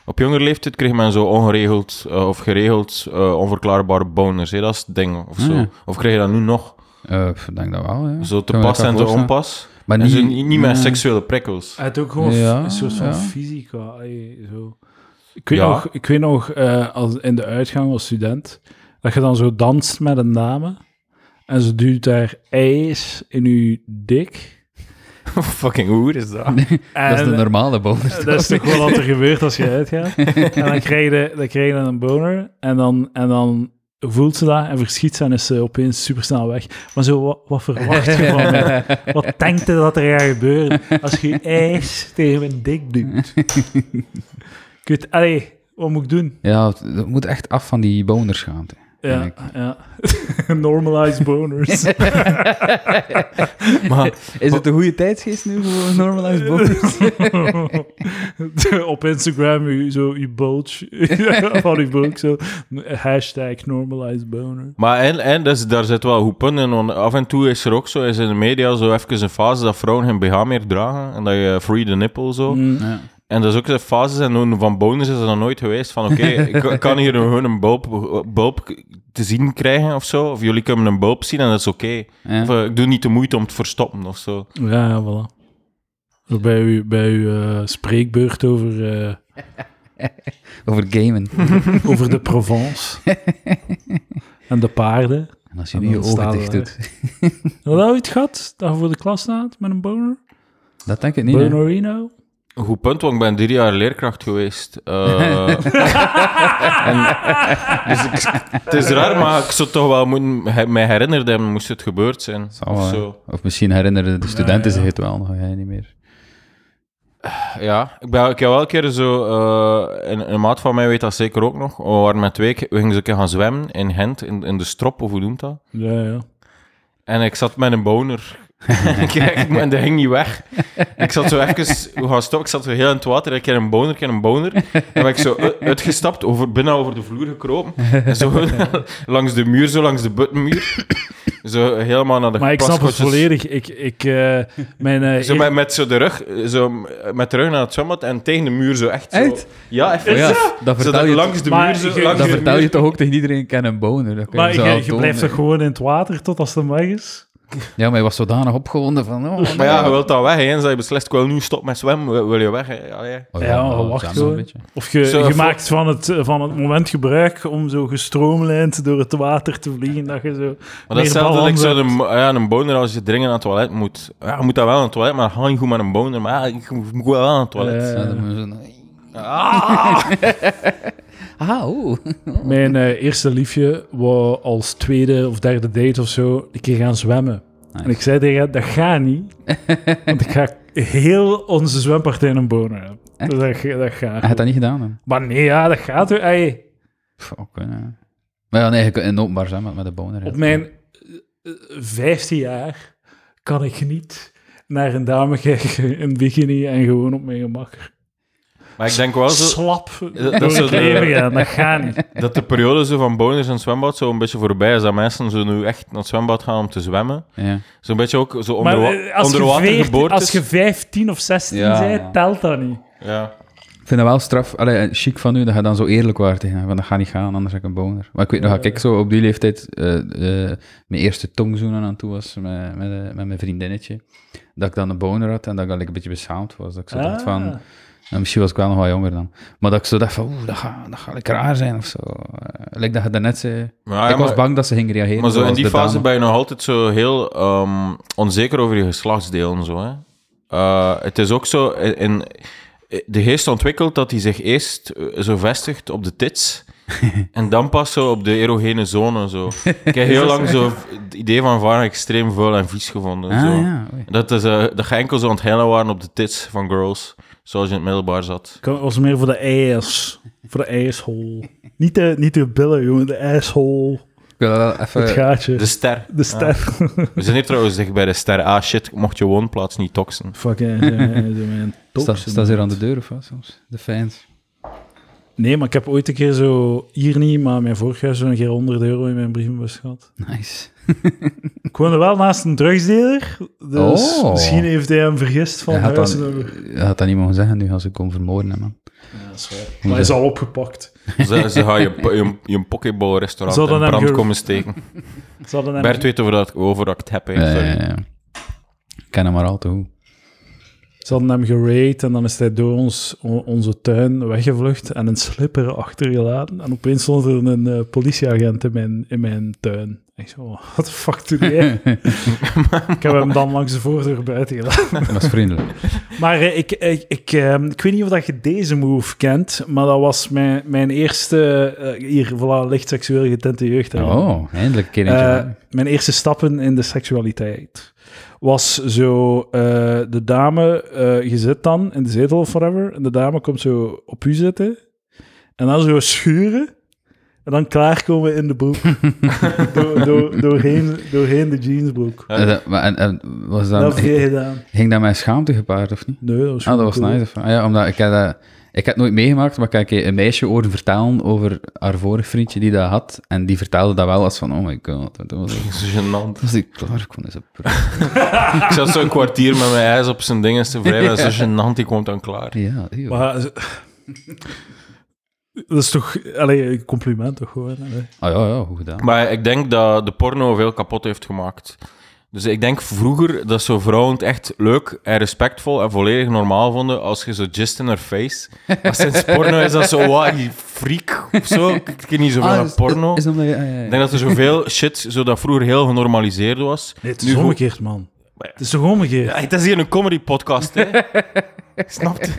S3: Op jongere leeftijd kreeg men zo ongeregeld eh, of geregeld eh, onverklaarbare boners. Hè? Dat is het ding. Of, zo.
S2: Ah, ja.
S3: of krijg je dat nu nog?
S2: Eh, pff, denk dat wel, ja.
S3: Zo te
S2: Kan me
S3: pas
S2: dat
S3: en te
S2: voorstellen.
S3: onpas.
S2: Maar Mm,
S3: En zo niet, niet met
S2: nee.
S3: seksuele prikkels.
S1: Hij had ook gewoon
S2: Ja,
S1: een soort van
S2: ja.
S1: fysica. allee, zo. Ik weet
S3: Ja.
S1: nog, ik weet nog eh, als in de uitgang als student, dat je dan zo danst met een dame en ze duwt daar ijs in je dik.
S3: Fucking hoer is dat?
S2: Dat is de
S1: En-
S2: normale bonus.
S1: Dat is toch wel wat er gebeurt als je uitgaat. En dan krijg je, dan krijg je een boner. En dan, en dan voelt ze dat en verschiet ze en is ze opeens supersnel weg. Maar zo, wat, wat verwacht je van mij? Wat denkt je dat er gaat gebeuren als je je ijs tegen mijn dik duwt? Ik weet, allee, wat moet ik doen?
S2: Ja, het- het moet echt af van die bonerschaamte.
S1: Ja, ja. Normalized boners.
S3: Maar
S2: Is het een goede tijdsgeest nu voor normalized boners?
S1: Op Instagram, u- zo, je bulge. van je bulge, zo. Hashtag normalized boner.
S3: Maar en, en dus, daar zit wel goed punt in, want af en toe is er ook zo, is in de media zo even een fase dat vrouwen geen BH meer dragen en dat je free the nipple zo.
S1: Mm.
S2: Ja.
S3: En dat is ook zo'n fase en toen van bonus is er nog nooit geweest van oké, ik kan- kan hier gewoon een bulb, bulb te zien krijgen of zo, of jullie kunnen een bulb zien en dat is oké.
S2: Ja.
S3: Of, eh, ik doe niet de moeite om het te verstoppen of zo.
S1: Ja, ja, voilà. Zo Bij uw, bij uw eh, spreekbeurt over, eh,
S2: Over gamen.
S1: over de Provence en de paarden.
S2: En als je
S1: En
S2: nu je
S1: dan
S2: ogen
S1: staan we
S2: dicht
S1: daar.
S2: doet.
S1: Had dat ooit gehad? Dat je voor de klas staat met een boner?
S2: Dat denk ik niet, hè.
S1: Bonerino?
S3: Een goed punt, want ik ben drie jaar leerkracht geweest. Eh, en- dus ik- het is raar, maar ik zou toch wel moeten, he- mij herinnerd hebben, moest het gebeurd zijn.
S2: Zal
S3: of
S2: wel,
S3: zo.
S2: hè. Of misschien herinneren de studenten
S1: ja.
S2: zich het wel, nog jij niet meer.
S3: Ja, ik, ben, ik heb wel een keer zo... eh, een, een maat van mij weet dat zeker ook nog. We waren met twee... keer- We gingen zo een keer gaan zwemmen in Gent, in, in de strop, of hoe noemt dat?
S1: Ja, ja.
S3: En ik zat met een boner. Kijk, en dat ging niet weg. Ik zat zo even... We gaan stoppen. Ik zat zo heel in het water. Ik heb een boner, ik heb een boner. En ben ik zo u- uitgestapt, over, bijna over de vloer gekropen. En zo langs de muur, zo langs de butmuur. Zo helemaal naar de
S1: Maar ik snap het
S3: pasgotjes.
S1: volledig. Ik, ik, eh, mijn, eh,
S3: Zo met, met zo de rug, eh, zo met de rug naar het zwembad en tegen de muur zo echt.
S2: Echt?
S3: Zo, ja, echt.
S2: Oh ja,
S3: zo.
S2: dat
S3: Zo
S2: vertel
S3: dat
S2: je
S3: langs de
S1: Maar
S3: muur. Zo,
S1: je-
S3: langs
S2: Dat
S3: de
S2: vertel je
S3: muur.
S2: toch ook tegen iedereen, ik ken een boner. Dat kun
S1: maar
S2: je, zo
S1: je,
S2: al
S1: je
S2: tonen.
S1: blijft toch gewoon in het water tot als de mag is?
S2: Ja, maar je was zodanig opgewonden van... Oh,
S3: Maar ja, je wilt dan weg, hè. En je beslist, ik wil nu stop met zwemmen, wil, wil je weg? Hè? Ja, ja.
S2: Oh,
S1: Ja,
S2: wel,
S1: wacht
S2: samen
S1: gewoon.
S2: een beetje.
S1: Of je,
S3: Zo,
S1: je
S3: voor-
S1: maakt van het, van het moment gebruik om zo gestroomlijnd door het water te vliegen, dat je zo...
S3: Maar dat is hetzelfde
S1: balans
S3: als
S1: hebt.
S3: een, ja, een boner als je dringend naar het toilet moet. Ja, je moet dat wel naar het toilet, maar ga niet goed met een boner. Maar ja, ik moet wel naar het toilet.
S1: Eh,
S2: Ja, dan moet je zo... Ah, oeh.
S1: Mijn eh, eerste liefje wou als tweede of derde date of zo een keer gaan zwemmen. En ik zei tegen haar, dat gaat niet. want ik ga heel onze zwempartij een boner hebben. Dus dat, ga- dat gaat
S2: Hij had
S1: niet.
S2: dat niet gedaan, hè?
S1: Maar nee, ja, dat gaat weer. Ey,
S2: Fuck, hè. Maar ja, nee, je kunt in het openbaar zijn met, met de boner.
S1: op mijn eh, eh, 15 jaar kan ik niet naar een dame kijken in bikini en gewoon op mijn gemak
S3: Maar ik denk wel zo,
S1: slap
S3: dat
S1: door
S3: is
S1: het
S3: zo de-
S1: leven gaan. Dat gaat niet.
S3: dat de periode zo van boners en zwembad zo een beetje voorbij is. Dat mensen zo nu echt naar het zwembad gaan om te zwemmen.
S2: Ja.
S3: Zo'n beetje ook zo onder,
S1: Maar
S3: wa-
S1: eh, als,
S3: onder
S1: je
S3: water
S1: 14
S3: geboortes.
S1: als je 15 of 16
S2: Ja,
S1: bent,
S2: ja.
S1: telt dat niet.
S3: Ja.
S2: Ik vind dat wel straf, allee, eh, chic van u, dat je dan zo eerlijk waard tegen hem, want dat gaat niet gaan, anders heb ik een boner. Maar ik weet nog, dat ik zo op die leeftijd eh, eh, mijn eerste tongzoenen aan toe was met, met, eh, met mijn vriendinnetje, dat ik dan een boner had en dat ik eigenlijk een beetje beschaamd was. Dat ik zo dacht van,
S1: Ah.
S2: En misschien was ik wel nog wat jonger dan. Maar dat ik zo dacht van, oeh, dat gaat dat ga ik raar zijn of zo. Eh, like dat je daarnet zei.
S3: Maar Ah, ja,
S2: ik was
S3: maar-
S2: bang dat ze ging reageren.
S3: Maar zo in
S2: zoals
S3: die
S2: de
S3: fase
S2: dame.
S3: ben je nog altijd zo heel ehm, onzeker over je geslachtsdeel en zo. Hè? Eh, het is ook zo, in, in- de geest ontwikkelt dat hij zich eerst eh, zo vestigt op de tits. en dan pas zo op de erogene zone. Zo. Ik heb heel lang zo het idee van varen extreem vuil en vies gevonden. zo.
S2: Ah, ja, oei.
S3: Dat, is, eh dat je enkel zo aan het heilen waren op de tits van girls, zoals je in het middelbaar zat.
S1: Ik was meer voor de ijs. Voor de ijshol. Niet de, niet de billen, jongen. De ijshol.
S2: Ik wil dat wel
S1: Het
S2: even...
S1: gaatje.
S3: De
S1: De,
S3: ster.
S1: ster.
S2: Ah.
S3: We zijn hier trouwens dicht bij de ster. Ah shit, ik mocht je woonplaats niet toxen.
S1: Fucking. eh, eh, eh, mijn
S2: Staat
S1: toxin.
S2: staat ze hier aan de deur of wat soms? De fans.
S1: Nee, maar ik heb ooit een keer zo, hier niet, maar mijn vorig jaar zo'n keer 100 euro in mijn brievenbus gehad.
S2: Nice.
S1: Ik woonde wel naast een drugsdealer, dus
S2: Oh.
S1: misschien heeft hij hem vergist van
S2: Hij had dat,
S1: huisnummer.
S2: hij had dat niet mogen zeggen nu als ik kon vermoorden, hè, man.
S1: Ja, dat is waar. Maar hij is al opgepakt.
S3: Ze, ze gaan je, po- je, je pokeball-restaurant
S1: Zouden
S3: in
S1: hem
S3: brand
S1: ge-
S3: komen steken.
S1: Ze hadden hem-
S3: Bert weet over dat, over dat ik het heb. hè, sorry.
S2: Eh, ik ken hem maar al te goed.
S1: Ze hadden hem geraid en dan is hij door ons, o- onze tuin weggevlucht en een slipper achtergelaten. En opeens stond er een eh, politieagent in mijn, in mijn tuin. Ik zo, what the fuck doe jij? ik heb hem dan langs de voordeur buiten gelaten.
S2: Dat was vriendelijk.
S1: Maar eh, ik, ik, ik, ehm, ik weet niet of dat je deze move kent, maar dat was mijn, mijn eerste... eh, hier, voilà, licht seksueel getinte jeugd.
S2: Oh, eindelijk een keer eentje.
S1: Eh,
S2: waar.
S1: mijn eerste stappen in de seksualiteit was zo, eh, de dame, eh, je zit dan in de zetel of whatever, en de dame komt zo op u zitten, en dan zo schuren, en dan klaarkomen in de broek. door, door, doorheen, doorheen de jeansbroek.
S3: eh,
S2: Eh, dat- maar en, en was dat,
S1: dat heb jij gedaan.
S2: ging dat met schaamte gepaard, of niet?
S1: Nee, dat was,
S2: Ah, dat was
S1: goed.
S2: nice. Ah, ja, omdat ik, had, dat- ik had het nooit meegemaakt, maar ik had een keer een meisje horen vertalen over haar vorig vriendje die dat had. En die vertelde dat wel als van, oh my god, dat was, dat
S3: Dat is gênant.
S2: was ik klaar, ik kon eens een pro-
S3: Ik zat zo'n kwartier met mijn ijs op zijn dingen te wrijven. Dat is zo gênant, die komt dan klaar.
S2: Ja, eeuw.
S1: Maar, dat is toch, allee, een compliment toch gewoon. hè?
S2: Ah ja, ja, goed gedaan.
S3: Maar ik denk dat de porno veel kapot heeft gemaakt. Dus ik denk vroeger dat zo vrouwen het echt leuk en respectvol en volledig normaal vonden als je zo just in her face. Maar sinds porno is dat zo, wat, die freak of zo. Ik ken niet zoveel
S2: Ah,
S3: aan
S2: is-
S3: porno.
S2: Is, omdat je- ah, ja, ja.
S3: Ik denk dat er zoveel shit, zo dat vroeger heel genormaliseerd was.
S1: Nee, het
S3: Nu
S1: is
S3: gewoon-
S1: omgekeerd, man. Het is toch omgekeerd?
S3: Ja, het is hier een comedy podcast, hè? Snap je?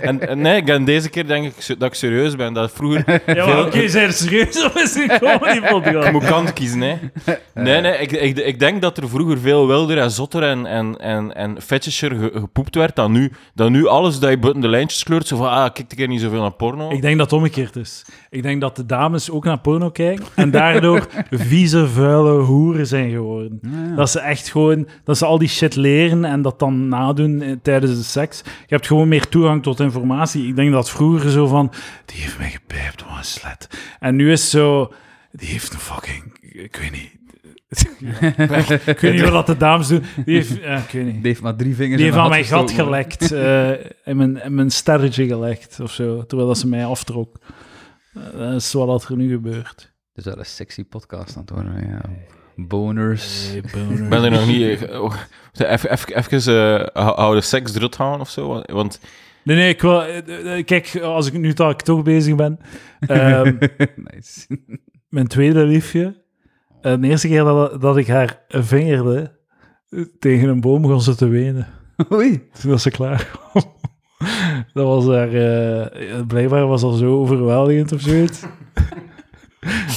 S3: En, en nee, ik ben deze keer denk ik se- dat ik serieus ben. Dat vroeger
S1: Ja, maar oké, zijn er serieus of is het een comedy podcast?
S3: ik moet kant kiezen, hè? Nee, nee, ik, ik, ik denk dat er vroeger veel wilder en zotter en, en, en, en fetisher ge- gepoept werd dan nu. Dan nu alles dat je buiten de lijntjes kleurt, zo van, ah, kijk ik keer niet zoveel naar porno.
S1: Ik denk dat het omgekeerd is. Ik denk dat de dames ook naar porno kijken en daardoor vieze, vuile hoeren zijn geworden. Dat ze echt gewoon, dat ze al die shit leren en dat dan nadoen eh, tijdens de seks. Je hebt gewoon meer toegang tot informatie. Ik denk dat vroeger zo van, die heeft mij gepijpt, wat een slet. En nu is het zo, die heeft een fucking, ik weet niet. ik weet niet wat dat de dames doen. Die heeft, ja, ik weet niet.
S2: Die heeft maar drie vingers
S1: Die
S2: in
S1: heeft aan mijn
S2: gestoken,
S1: gat
S2: hoor.
S1: gelekt. eh, in, mijn, in mijn sterretje gelekt of zo. Terwijl dat ze mij aftrok. Eh, dat is wat dat er nu gebeurt.
S2: Dus dat is een sexy podcast aan het worden, ja. Boners.
S3: Ik ben er nog niet... eh, oh, Even, even, even eh, hou- hou de seks eruit houden of zo. want- Want
S1: Nee, nee, ik wil... eh, eh, Kijk, als ik nu dat ik toch bezig ben. ehm,
S2: nice.
S1: mijn tweede liefje. eh, de eerste keer dat, dat ik haar vingerde eh, tegen een boom begon ze te wenen.
S2: Oei.
S1: Toen was ze klaar. kwam. dat was haar... eh, blijkbaar was dat zo overweldigend of zoiets.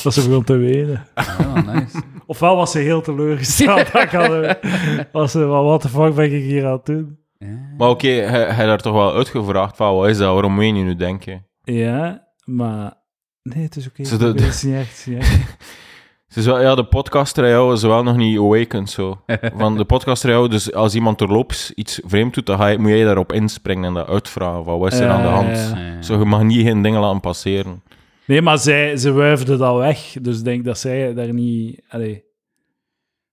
S1: dat ze begon te wenen.
S2: Ah, nice.
S1: Ofwel was ze heel teleurgesteld. dat kan ook. was ze van, wat de fuck ben ik hier aan het doen?
S2: Ja.
S3: Maar oké, hij hij had daar toch wel uitgevraagd van, wat is dat, waarom meen je nu, denk je?
S1: Ja, maar... Nee, het is oké.
S3: Ze de-
S1: Het is niet echt, het is niet echt.
S3: Het is wel, ja, de podcaster jou is wel nog niet awakened, zo. Van de podcaster jou, dus als iemand terloops iets vreemd doet, dan ga je, moet jij daarop inspringen en dat uitvragen van, wat is er aan de
S1: Ja,
S3: hand?
S1: ja, ja.
S2: Eh,
S3: Zo, je mag niet geen dingen laten passeren.
S1: Nee, maar zij, ze wuifde dat weg. Dus ik denk dat zij daar niet... Allee.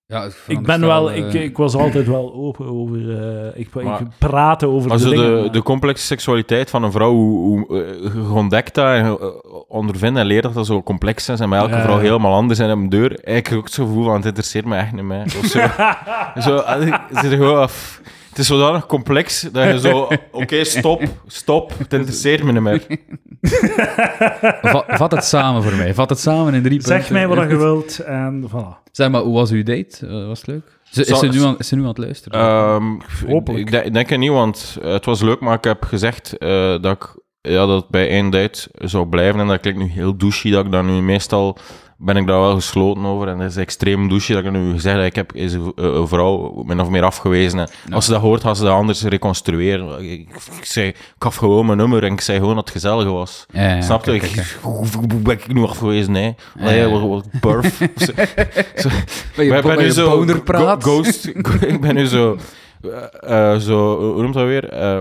S2: ja,
S1: Ik ben wel... Ik,
S2: eh,
S1: ik was altijd wel open over... eh, ik,
S3: Maar-
S1: ik praatte over
S3: Maar
S1: de
S3: zo
S1: dingen.
S3: de, de complexe seksualiteit van een vrouw, hoe, hoe, eh, je ontdekt dat en je, eh, ondervindt en leert dat dat zo complex is en bij elke
S1: Ja.
S3: vrouw helemaal anders en op een deur. Ik heb ook het gevoel van, het interesseert me echt niet meer. Of zo. zo, eh, het, is gewoon, af- het is zodanig complex dat je zo, oké, stop, stop, het interesseert me niet meer.
S2: va- vat het samen voor mij. Vat het samen in drie
S1: Zeg
S2: punten.
S1: mij wat je wilt en voilà.
S2: Zeg maar, hoe was uw date? Eh, was het leuk? Ze- Is
S3: Zal-
S2: ze, nu aan, is ze nu aan het luisteren?
S3: Ehm,
S1: Hopelijk.
S3: Ik, denk- ik denk het niet, want eh, het was leuk, maar ik heb gezegd eh, dat ik ja, dat het bij één date zou blijven. En dat klinkt nu heel douchey, dat ik daar nu meestal... Ben ik daar wel gesloten over en dat is extreem douchey dat ik nu gezegd heb, ik heb is een v- eh, een vrouw min of meer afgewezen. En Als ze dat hoort, gaat ze dat anders reconstrueren. Ik, ik, ik zei, ik gaf gewoon mijn nummer en ik zei gewoon dat het gezellig was.
S2: Ja, ja,
S3: Snap je?
S2: oké,
S3: Ik-
S2: oké,
S3: Hoe hoe ben ik nu afgewezen? Nee, nee wat, wat burf. Zo- zo-
S2: Ben je,
S3: maar
S2: ben
S3: ik ben nu
S2: je
S3: zo
S2: boner praat?
S3: go- ghost. ik ben nu zo, eh, eh, zo hoe noemt dat weer? Eh,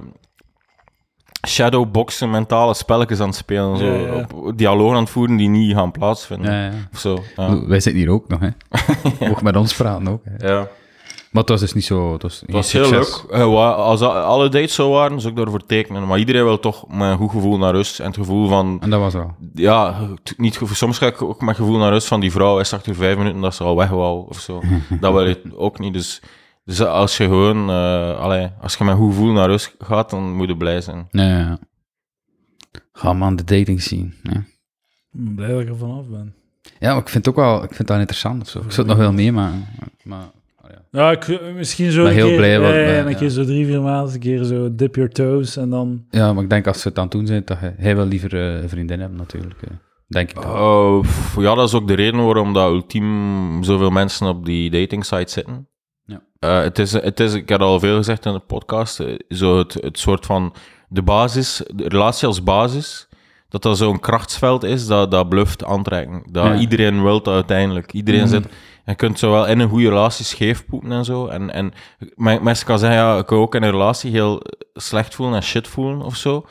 S3: shadowboxen, mentale spelletjes aan het spelen. Zo,
S1: Ja, ja.
S3: Op, dialogen aan het voeren die niet gaan plaatsvinden.
S2: Ja, ja.
S3: Of zo. Ja.
S2: Bedoel, Wij zitten hier ook nog, hè. Mocht met ons praten ook. Hè.
S3: Ja.
S2: Maar het was dus niet zo... Het was,
S3: Het was heel leuk. Eh, wa- als a- alle dates zo waren, zou ik daarvoor tekenen. Maar iedereen wil toch met een goed gevoel naar rust. En het gevoel van...
S2: En dat was wel.
S3: Ja, t- niet gevoel, soms ga ik ook met het gevoel naar rust van die vrouw. Is achter vijf minuten dat ze al weg wou of zo. dat wil je ook niet. Dus, dus als je gewoon... eh, allee, als je met een goed gevoel naar rust gaat, dan moet je blij zijn.
S2: Ja, ja, ja. Ga man de dating zien. Ja.
S1: Ik ben blij dat ik er vanaf ben.
S2: ja, maar ik vind het ook wel ik vind dat interessant of zo. Ik zou het nog wel meemaken. Maar, maar ja.
S1: Ja, ik, misschien zo
S2: Maar
S1: een
S2: heel
S1: keer,
S2: blij wat-
S1: ja, ja,
S2: ja,
S1: en een
S2: ja.
S1: keer zo drie, vier maanden, een keer zo dip your toes en dan...
S2: ja, maar ik denk als ze het aan het doen zijn, dat hij, hij wel liever eh, een vriendin hebben natuurlijk. eh. Denk ik wel.
S3: Eh, pff, ja, dat is ook de reden waarom dat ultiem zoveel mensen op die dating site zitten.
S2: Ja.
S3: Eh, het is, het is, ik heb al veel gezegd in de podcast, eh, zo het, het soort van de basis, de relatie als basis, dat dat zo'n krachtsveld is dat, dat bluft aantrekken. Dat
S2: Ja. Mhm.
S3: iedereen wil dat uiteindelijk. Iedereen zit, je kunt zowel in een goede relatie scheefpoepen en zo. En, en men- mensen kan zeggen, ja, ik kan ook in een relatie heel slecht voelen en shit voelen of zo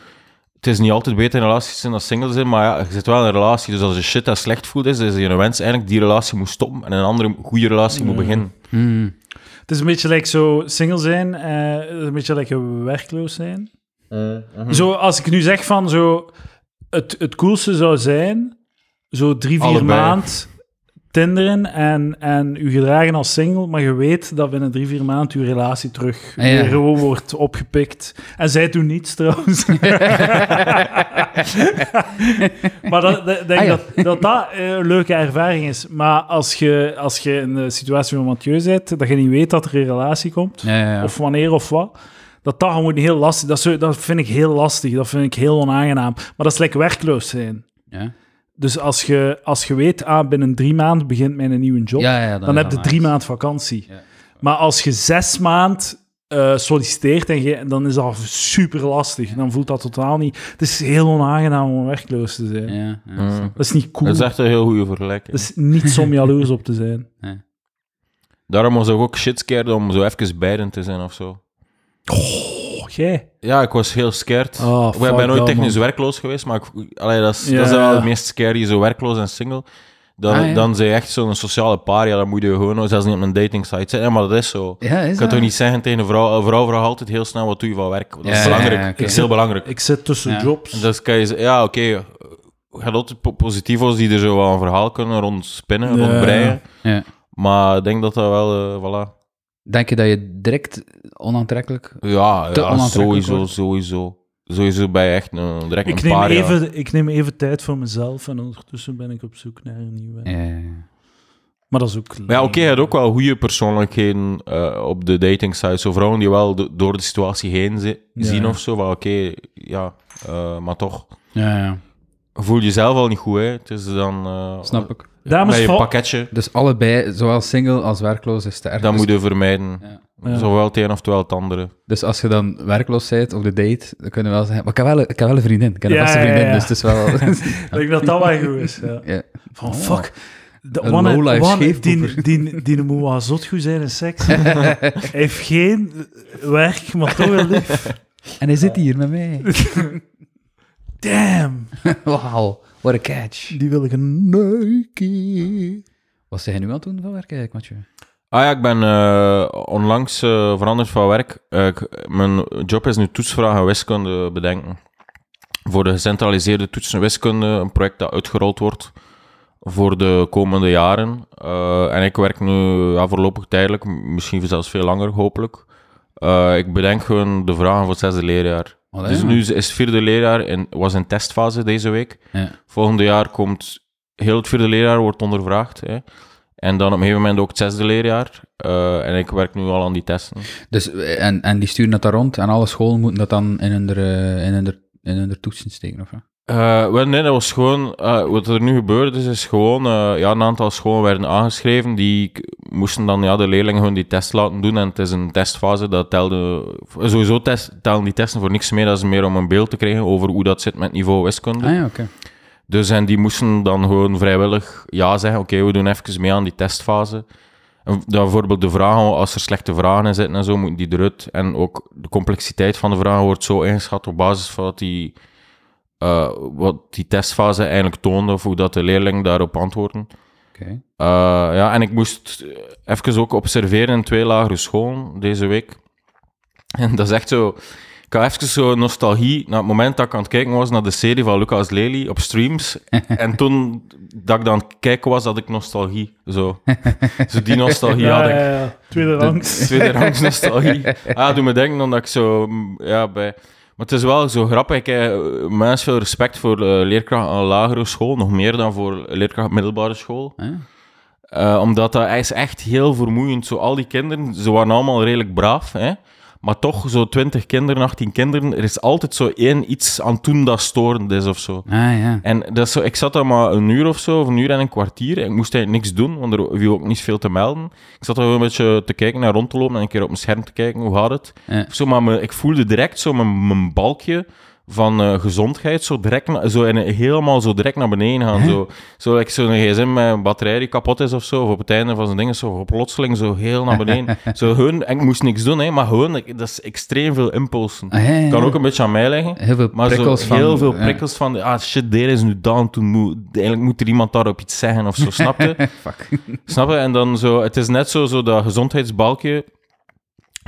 S3: het is niet altijd beter in relaties zijn dan singles zijn, maar ja, je zit wel in een relatie. Dus als je shit en slecht voelt, is, is je een wens eigenlijk die relatie moet stoppen en een andere goede relatie moet beginnen.
S2: Hmm.
S1: Het is een beetje like zo single zijn, eh, een beetje lekker werkloos zijn.
S2: Mhm.
S1: Zo, als ik nu zeg van zo, het, het coolste zou zijn, zo drie, vier
S3: Allebei.
S1: maand tinderen en, en u gedragen als single, maar je weet dat binnen drie, vier maanden uw relatie terug
S2: Ah, ja.
S1: weer gewoon wordt opgepikt. En zij doen niets trouwens. maar dat, dat- denk
S2: Ah, ja.
S1: dat, dat dat eh, een leuke ervaring is. Maar als je, als je in de situatie van Mathieu zit, dat je niet weet dat er een relatie komt,
S2: Ja, ja, ja.
S1: of wanneer of wat. Dat dat gewoon heel lastig dat, zo- dat vind ik heel lastig. Dat vind ik heel onaangenaam. Maar dat is lekker werkloos zijn.
S2: ja.
S1: Dus als je, als je weet, ah, binnen drie maanden begint mijn nieuwe job,
S2: Ja, ja,
S1: dan,
S2: is
S1: heb
S2: dat
S1: je drie
S2: nice.
S1: maanden vakantie.
S2: Ja.
S1: Maar als je zes maand eh, solliciteert, en je, dan is dat super lastig. Dan voelt dat totaal niet. Het is heel onaangenaam om werkloos te zijn.
S2: Ja, ja,
S3: Mm.
S2: snap ik.
S1: Dat is niet cool.
S3: Dat is
S1: Dat
S3: echt een heel goede vergelijking.
S1: is niets om jaloers op te zijn.
S3: Daarom was ik ook shit scared om zo even beiden te zijn of zo.
S1: Oh, jij.
S3: Ja, ik was heel scared.
S1: Ah,
S3: ik
S1: fuck
S3: ben nooit
S1: dat,
S3: technisch werkloos geweest, maar ik, allee, dat, is,
S1: Ja.
S3: dat is wel het meest scary, zo werkloos en single. Dan,
S2: Ah, ja.
S3: dan zijn je echt zo'n sociale paria, dan moet je gewoon zelfs niet op een dating site zijn. Ja, maar dat is zo.
S2: Ja, is
S3: Ik kan
S2: dat?
S3: toch niet zeggen tegen een vrouw, een vrouw vraagt altijd heel snel wat doe je van werk. Dat is
S2: Ja,
S3: belangrijk.
S2: ja, ja, oké.
S3: Dat is heel belangrijk.
S1: Ik zit tussen
S2: Ja.
S1: jobs.
S3: En Dus kan je zeggen, ja, oké, eh, je gaat altijd po- positivo's die er zo wel een verhaal kunnen rondspinnen,
S1: Ja.
S3: rondbreien.
S2: Ja.
S3: Maar ik denk dat dat wel, eh, voilà.
S2: Denk je dat je direct onaantrekkelijk...
S3: Ja,
S2: Te
S3: ja
S2: onaantrekkelijk
S3: sowieso,
S2: wordt.
S3: sowieso. Sowieso ben je echt een, direct
S1: Ik
S3: een
S1: neem,
S3: paar
S1: even, ik neem even tijd voor mezelf en ondertussen ben ik op zoek naar een nieuwe.
S2: Ja, ja, ja.
S1: Maar dat is ook
S3: Maar ja, oké, je hebt ook wel goede persoonlijkheden eh, op de dating sites. Zo vrouwen die wel do- door de situatie heen zi-
S1: Ja,
S3: zien
S1: ja.
S3: of zo. Van oké, ja, eh, maar toch.
S2: ja, ja.
S3: Voel jezelf al niet goed, hè. Het is dan... eh,
S2: Snap ik.
S1: Dames,
S3: Met je
S1: val-
S3: pakketje,
S2: Dus allebei, zowel single als werkloos, is te erg.
S3: dat
S2: Dus-
S3: moet je vermijden.
S2: Ja.
S1: Ja.
S3: Zowel het een of het andere.
S2: Dus als je dan werkloos bent op de date, dan kunnen we wel zeggen... Maar ik heb wel, een- ik heb wel een vriendin. Ik heb een
S1: Ja,
S2: vaste
S1: ja, ja,
S2: vriendin,
S1: ja.
S2: dus het is wel...
S1: ik denk dat dat wel goed is. Ja.
S2: ja.
S1: Van fuck. De,
S2: Een
S1: wanne-
S2: lowlife
S1: wanne- die,
S2: scheefboeper.
S1: die, die moet wel zot goed zijn in seks. Hij heeft geen werk, maar toch wel lief.
S2: En hij zit hier met mij.
S1: Damn,
S2: Wauw, what a catch.
S1: die wil ik een neukie.
S2: Wat zijn jij nu aan het doen van werk eigenlijk, Mathieu?
S3: Ah ja, ik ben eh, onlangs eh, veranderd van werk. Eh, ik- mijn job is nu toetsvragen wiskunde bedenken. Voor de gecentraliseerde toetsen wiskunde, een project dat uitgerold wordt voor de komende jaren. Eh, en ik werk nu ja, voorlopig tijdelijk, m- misschien zelfs veel langer, hopelijk. Eh, ik bedenk gewoon de vragen voor het zesde leerjaar.
S2: Allee,
S3: Dus
S2: ja.
S3: nu is het vierde leerjaar en was in testfase deze week.
S2: Ja.
S3: Volgende jaar komt heel het vierde leerjaar wordt ondervraagd. Hè. En dan op een gegeven moment ook het zesde leerjaar. Eh, en ik werk nu al aan die testen.
S2: Dus, eh, en, en die sturen dat daar rond en alle scholen moeten dat dan in hun, der, eh, in hun, der- in hun der toetsen steken, of wat?
S3: Eh, wel, nee, dat was gewoon. eh, wat er nu gebeurd is, is gewoon. eh, ja, een aantal scholen werden aangeschreven. Die k- moesten dan ja, de leerlingen hun die test laten doen. En het is een testfase. Dat telde. Sowieso test, tellen die testen voor niks meer. Dat is meer om een beeld te krijgen over hoe dat zit met niveau wiskunde.
S2: Ah ja, oké.
S3: Dus en die moesten dan gewoon vrijwillig ja zeggen. Oké, we doen even mee aan die testfase. En dat bijvoorbeeld de vragen, als er slechte vragen in zitten en zo, moeten die eruit. En ook de complexiteit van de vragen wordt zo ingeschat op basis van wat die, eh, wat die testfase eigenlijk toonde, of hoe dat de leerlingen daarop antwoorden.
S2: Oké.
S3: Eh, ja, en ik moest eh, even ook observeren in twee lagere scholen deze week. En dat is echt zo... Ik had even zo nostalgie naar het moment dat ik aan het kijken was naar de serie van Lucas Lely op streams. En toen dat ik dan aan het kijken was, had ik nostalgie. Zo, zo die nostalgie had ik.
S1: ja. Tweede rangs.
S3: Tweede rangs nostalgie. Ah, doe me denken omdat ik zo... mm, Ja, bij... Maar het is wel zo grappig. Ik heb mens veel respect voor eh, leerkrachten aan lagere school. Nog meer dan voor leerkracht middelbare school.
S2: Hè?
S3: Eh, omdat dat hij is echt heel vermoeiend. Zo, al die kinderen, ze waren allemaal redelijk braaf. Hè? Maar toch, zo 20 kinderen, 18 kinderen, er is altijd zo één iets aan het doen dat storend is of zo.
S2: Ah ja.
S3: En dat is zo, ik zat daar maar een uur of zo, of een uur en een kwartier. Ik moest eigenlijk niks doen, want er viel ook niet veel te melden. Ik zat daar gewoon een beetje te kijken en rond te lopen en een keer op mijn scherm te kijken, hoe gaat het?
S2: Ja.
S3: Zo, maar me- ik voelde direct zo mijn, mijn balkje van eh, gezondheid zo direct na- zo en helemaal zo direct naar beneden gaan. Zo, zo ik zo'n gsm met een batterij die kapot is of zo, of op het einde van zijn dingen, zo plotseling zo heel naar beneden. zo hun, en ik moest niks doen, hè, maar gewoon, ik- dat is extreem veel impulsen.
S2: Ah, ja, ja,
S3: Kan
S2: ja.
S3: ook een beetje aan mij liggen.
S2: Heel veel
S3: Maar zo,
S2: prikkels van...
S3: heel veel
S2: ja.
S3: prikkels van, de- ah shit, deze is nu down, toen moet, eigenlijk moet er iemand daarop iets zeggen of zo, snap je?
S2: Fuck.
S3: snap je? En dan zo, het is net zo, zo dat gezondheidsbalkje,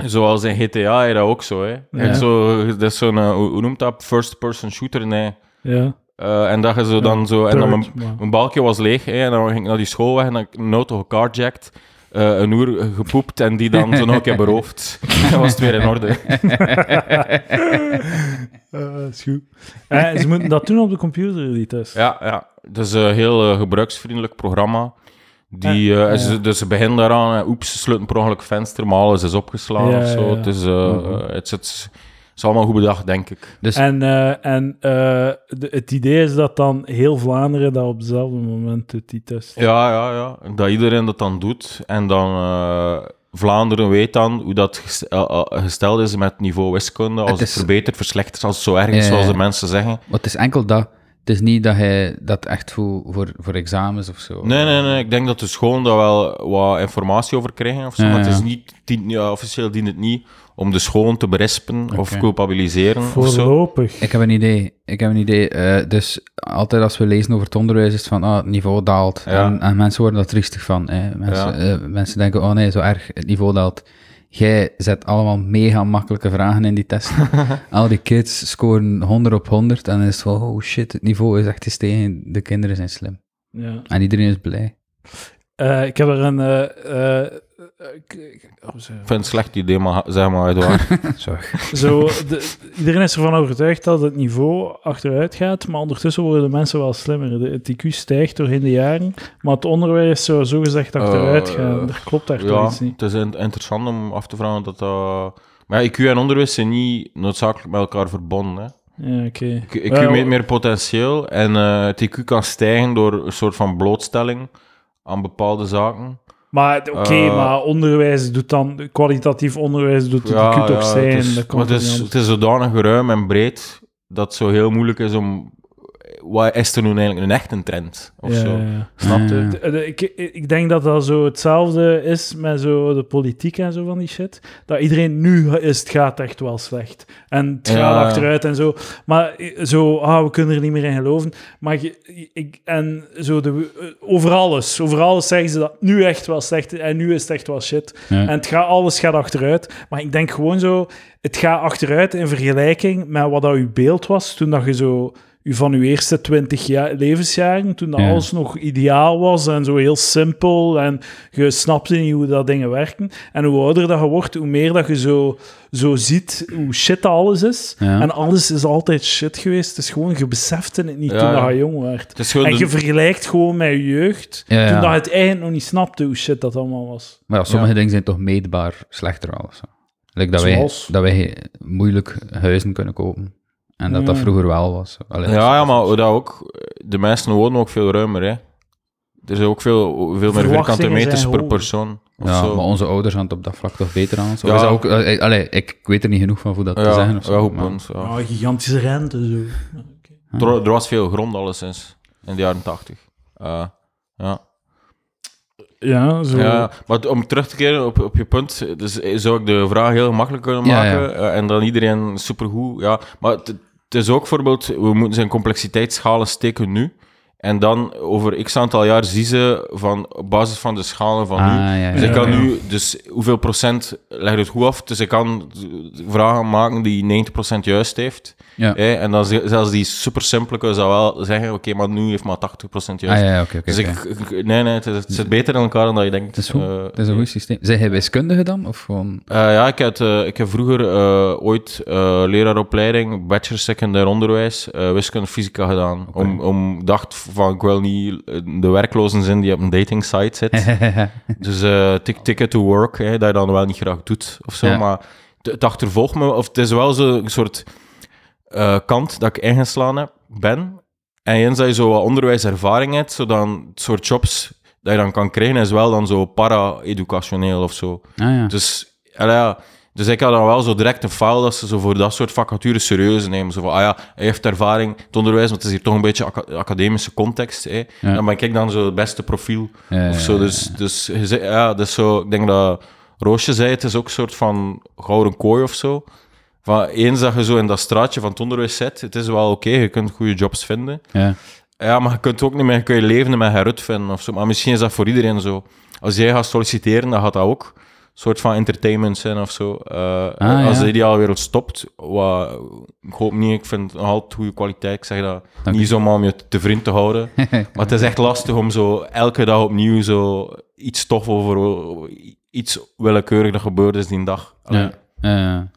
S3: zoals in GTA, is dat ook zo, hè? En zo, dat is zo'n, eh, hoe hoe noemt dat? First-person shooter, nee.
S1: Ja.
S3: Eh, en dat je zo dan zo, en dan mijn,
S1: Third, maar-
S3: mijn balkje was leeg, hè, en dan ging ik naar die school weg en dan heb ik een auto gecarjacked. eh, een uur gepoept en die dan zo nog een keer beroofd. Dan was het weer in orde.
S1: Eh, is goed. Eh, ze moeten dat doen op de computer, die test.
S3: Ja, ja. Het is een heel eh, gebruiksvriendelijk programma. Die, eh,
S1: ja.
S3: ze, dus ze beginnen daaraan, eh, oeps, ze sluiten per ongeluk venster, maar alles is opgeslagen
S1: Ja,
S3: of zo.
S1: ja, Mhm. ja.
S3: Het, is, eh, eh, het, is- het is- het is allemaal goed bedacht, denk ik.
S2: Dus
S1: En, eh, en eh, de- het idee is dat dan heel Vlaanderen dat op hetzelfde moment doet, die test.
S3: Ja, ja, ja. Dat iedereen dat dan doet. En dan eh, Vlaanderen weet dan hoe dat ges- eh, eh, gesteld is met niveau wiskunde. Als
S2: Het
S3: het,
S2: is-
S3: verbetert, verslechtert, als het zo erg is,
S2: Ja, ja,
S3: zoals de
S2: ja.
S3: mensen zeggen.
S2: wat het is enkel dat... Het is niet dat hij dat echt voor, voor, voor examens of zo...
S3: Nee, nee, nee. Ik denk dat de scholen daar wel wat informatie over krijgen of zo.
S2: Ja,
S3: maar het is
S2: ja.
S3: niet, dient, ja, officieel dient het niet om de scholen te berispen of
S2: Oké.
S3: culpabiliseren of zo.
S1: Voorlopig.
S2: Ik heb een idee. Ik heb een idee. Eh, dus altijd als we lezen over het onderwijs is het van, ah, het niveau daalt.
S3: Ja.
S2: En, en mensen worden daar triestig van. Hè. Mensen, eh, mensen denken, oh nee, zo erg, het niveau daalt. Jij zet allemaal mega makkelijke vragen in die testen. Al die kids scoren 100 op 100 en dan is het van, oh shit, het niveau is echt gestegen. De kinderen zijn slim.
S1: Ja.
S2: En iedereen is blij.
S1: Eh, ik heb er een... eh, eh, eh, ik- ik- oh, zo.
S3: Ik vind het een slecht idee, maar ha- zeg maar, Edouard.
S2: Zorg.
S1: Zo, de- iedereen is ervan overtuigd dat het niveau achteruit gaat, maar ondertussen worden de mensen wel slimmer. De, het IQ stijgt doorheen de jaren, maar het onderwijs zou zogezegd achteruit
S3: Eh,
S1: gaan. Er klopt daar toch
S3: ja,
S1: iets niet.
S3: het is in- interessant om af te vragen dat dat... Maar ja, IQ en onderwijs zijn niet noodzakelijk met elkaar verbonden. Hè.
S1: Ja, oké. Eh,
S3: IQ
S1: Wel,
S3: meet meer potentieel en eh, het IQ kan stijgen door een soort van blootstelling aan bepaalde zaken.
S1: Maar oké,
S3: Eh,
S1: maar onderwijs doet dan, kwalitatief onderwijs doet het IQ toch zijn.
S3: Het is,
S1: dat kan
S3: maar het
S1: toch
S3: is,
S1: niet
S3: het is zodanig ruim en breed dat het zo heel moeilijk is om. Wat is er nu eigenlijk een echte trend? Of
S1: anders. Ja,
S3: zo.
S1: ja, ja.
S3: Snap je?
S2: Ja.
S1: De- de- ik, ik denk dat dat zo hetzelfde is met zo de politiek en zo van die shit. Dat iedereen nu is, het gaat echt wel slecht. En het
S3: Ja.
S1: gaat achteruit en zo. Maar i- zo, ah, we kunnen er niet meer in geloven. Maar je- ik, en zo de, eh, over alles, over alles zeggen ze dat nu echt wel slecht is en nu is het echt wel shit.
S2: Ja.
S1: En het gaat, alles gaat achteruit. Maar ik denk gewoon zo, het gaat achteruit in vergelijking met wat dat uw beeld was toen dat je zo u van uw eerste twintig levensjaren, toen dat
S2: Ja.
S1: alles nog ideaal was en zo heel simpel en je snapte niet hoe dat dingen werken. En hoe ouder dat je wordt, hoe meer dat je zo, zo ziet hoe shit dat alles is.
S2: Ja.
S1: En alles is altijd shit geweest. Het is gewoon, je besefte het niet
S3: Ja,
S1: toen
S3: ja.
S1: dat je jong werd.
S3: Het is gewoon
S1: En je
S3: de-
S1: vergelijkt gewoon met je jeugd,
S2: Ja, ja.
S1: toen dat je het eigenlijk nog niet snapte hoe shit dat allemaal was.
S2: Maar ja, sommige
S3: Ja.
S2: dingen zijn toch meetbaar slechter al of zo. Like dat, wij,
S1: Zoals?
S2: dat wij moeilijk huizen kunnen kopen. En dat dat
S1: Ja.
S2: vroeger wel was. Allee, dat
S3: Hmm. ja,
S2: is-
S3: ja, maar dat ook. De mensen wonen ook veel ruimer. Hè. Er zijn ook veel, veel meer vierkante
S1: Verwachtingen
S3: meters
S1: zijn
S3: per
S1: hoger.
S3: persoon. Of
S2: Ja,
S3: zo.
S2: maar onze ouders hadden het op dat vlak toch beter aan ons. Of
S3: Ja.
S2: is dat ook, eh, eh, allee, ik, ik weet er niet genoeg van hoe dat te
S3: ja,
S2: zeggen. Of zo,
S3: ja, goed
S2: maar-
S3: punt, ja.
S1: Ah, gigantische rente, zo.
S3: Er, er Eh, was veel grond alleszins in de jaren tachtig. ja.
S1: Ja, zo.
S3: Ja, maar om terug te keren op, op je punt, dus zou ik de vraag heel makkelijk kunnen
S2: Ja,
S3: maken
S2: ja.
S3: eh, en dan iedereen supergoed. Ja, maar het, het is ook bijvoorbeeld, we moeten zijn complexiteitsschalen steken nu en dan over x aantal jaar zien ze van op basis van de schalen van nu.
S2: Ah, ja,
S3: Dus
S1: ja,
S3: ik kan
S1: ja.
S3: nu, dus hoeveel procent legt het goed af? Dus ik kan vragen maken die 90% juist heeft.
S2: Ja.
S3: Hè? En dan ze- zelfs die super simpele zou wel zeggen: oké, maar nu heeft maar 80% juist.
S2: Ah, ja, ja, oké, oké.
S3: Dus
S2: oké.
S3: ik, ik- nee, nee, het, is- het zit beter in elkaar dan dat je denkt.
S2: Het is goed.
S3: Eh,
S2: Dat is een goed systeem. Zijn jij wiskundige dan? Of gewoon...
S3: eh, ja, ik, had, eh, ik heb vroeger eh, ooit eh, leraaropleiding, bachelor secundair onderwijs, eh, wiskunde fysica gedaan. Om, om dacht van, ik wil niet eh, de werklozen zijn die op een dating site zit. Dus eh, tik- ticket to work, hè, dat je dan wel niet graag doet of zo.
S2: Ja.
S3: Maar t- het achtervolgt me, of het is wel zo'n soort eh, kant dat ik ingeslagen heb, ben. En eens dat je zo wat onderwijservaring hebt, zo dan het soort jobs dat je dan kan krijgen, is wel dan zo para-educationeel of zo.
S2: ah, ja.
S3: Dus, en ja, dus ik had dan wel zo direct een faal dat ze zo voor dat soort vacatures serieus nemen. Zo van, ah ja, hij heeft ervaring, het onderwijs, want het is hier toch een beetje aca- academische context. Hè.
S2: Ja.
S3: Dan ben ik dan zo het beste profiel
S2: Ja,
S3: of
S2: ja,
S3: zo.
S2: ja,
S3: Dus, dus je zei- ja, dus zo, ik denk dat Roosje zei, het is ook een soort van gouden kooi of zo. Van, eens dat je zo in dat straatje van het onderwijs zit, het is wel oké, je kunt goede jobs vinden.
S2: ja.
S3: Ja, maar je kunt ook niet meer, je kun je leven met herut vinden of zo. Maar misschien is dat voor iedereen zo. Als jij gaat solliciteren, dan gaat dat ook een soort van entertainment zijn of zo. Eh,
S2: Ah,
S3: als
S2: ja.
S3: de ideaalwereld stopt, wat, ik hoop niet, ik vind het nog altijd goede kwaliteit. Ik zeg dat
S2: Dank
S3: niet zomaar om je te vriend te houden. maar het is echt lastig om zo elke dag opnieuw zo iets tof over iets willekeurig dat gebeurd is die dag. Allee.
S2: Ja. Ja, ja.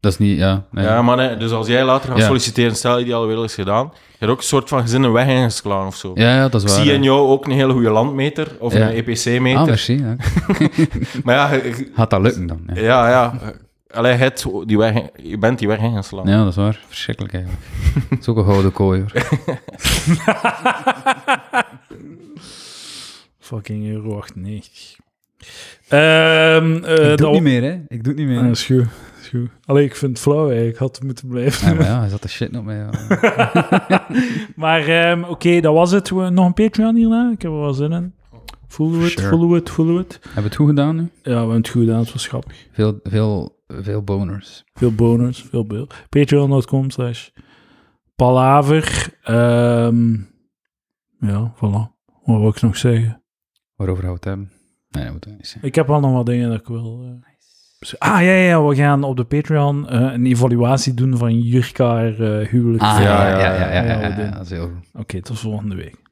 S2: Dat is niet... Ja, nee.
S3: Ja, maar nee, dus als jij later gaat
S2: Ja.
S3: solliciteren, stel ideaalwereld is gedaan, je hebt ook een soort van gezin een weg ingeslagen of zo.
S2: ja, ja, dat is
S3: Ik
S2: waar.
S3: zie
S2: hè.
S3: in jou ook een hele goede landmeter of
S2: Ja.
S3: een E EPC-meter.
S2: Ah, merci. Ja.
S3: maar ja, je- je-
S2: Gaat dat lukken dan? Ja,
S3: ja, ja. Allee, het, die weg, in- je bent die weg ingeslagen.
S2: ja dat is waar. Verschrikkelijk eigenlijk. Het is ook een gouden kooi,
S3: Eh,
S2: hoor.
S1: Fucking euro 98. Ehm eh,
S2: ik doe
S1: dat-
S2: het niet meer, hè. Ik doe het niet meer.
S1: Ah, is goed. is goed. Allee, ik vind het flauw eigenlijk. Ik had het moeten blijven.
S2: Ja, maar ja, hij zat de shit op mij. ja.
S1: Maar ehm, oké, dat was het. We- Nog een Patreon hierna. Ik heb er wel zin in. Voelen we het,
S2: Sure.
S1: voelen we het, voelen we het.
S2: Hebben we het goed gedaan nu?
S1: Ja, we hebben het goed gedaan. Het was grappig.
S2: Veel, veel, veel boners.
S1: Veel bonus, veel beeld. Patreon.com slash palaver. Ehm, ja, voilà. Wat wil ik nog zeggen?
S2: Waarover houdt het hebben? Nee, dat moet het niet zijn.
S1: Ik heb wel nog wat dingen dat ik wil... eh, bes- Ah, ja, ja, we gaan op de Patreon eh, een evaluatie doen van Jurka haar eh, huwelijk.
S2: Ah, ja,
S3: Ja,
S2: ja, ja, ja,
S1: ja,
S2: ja, ja,
S1: we doen.
S2: dat is heel goed.
S1: Oké, tot volgende week.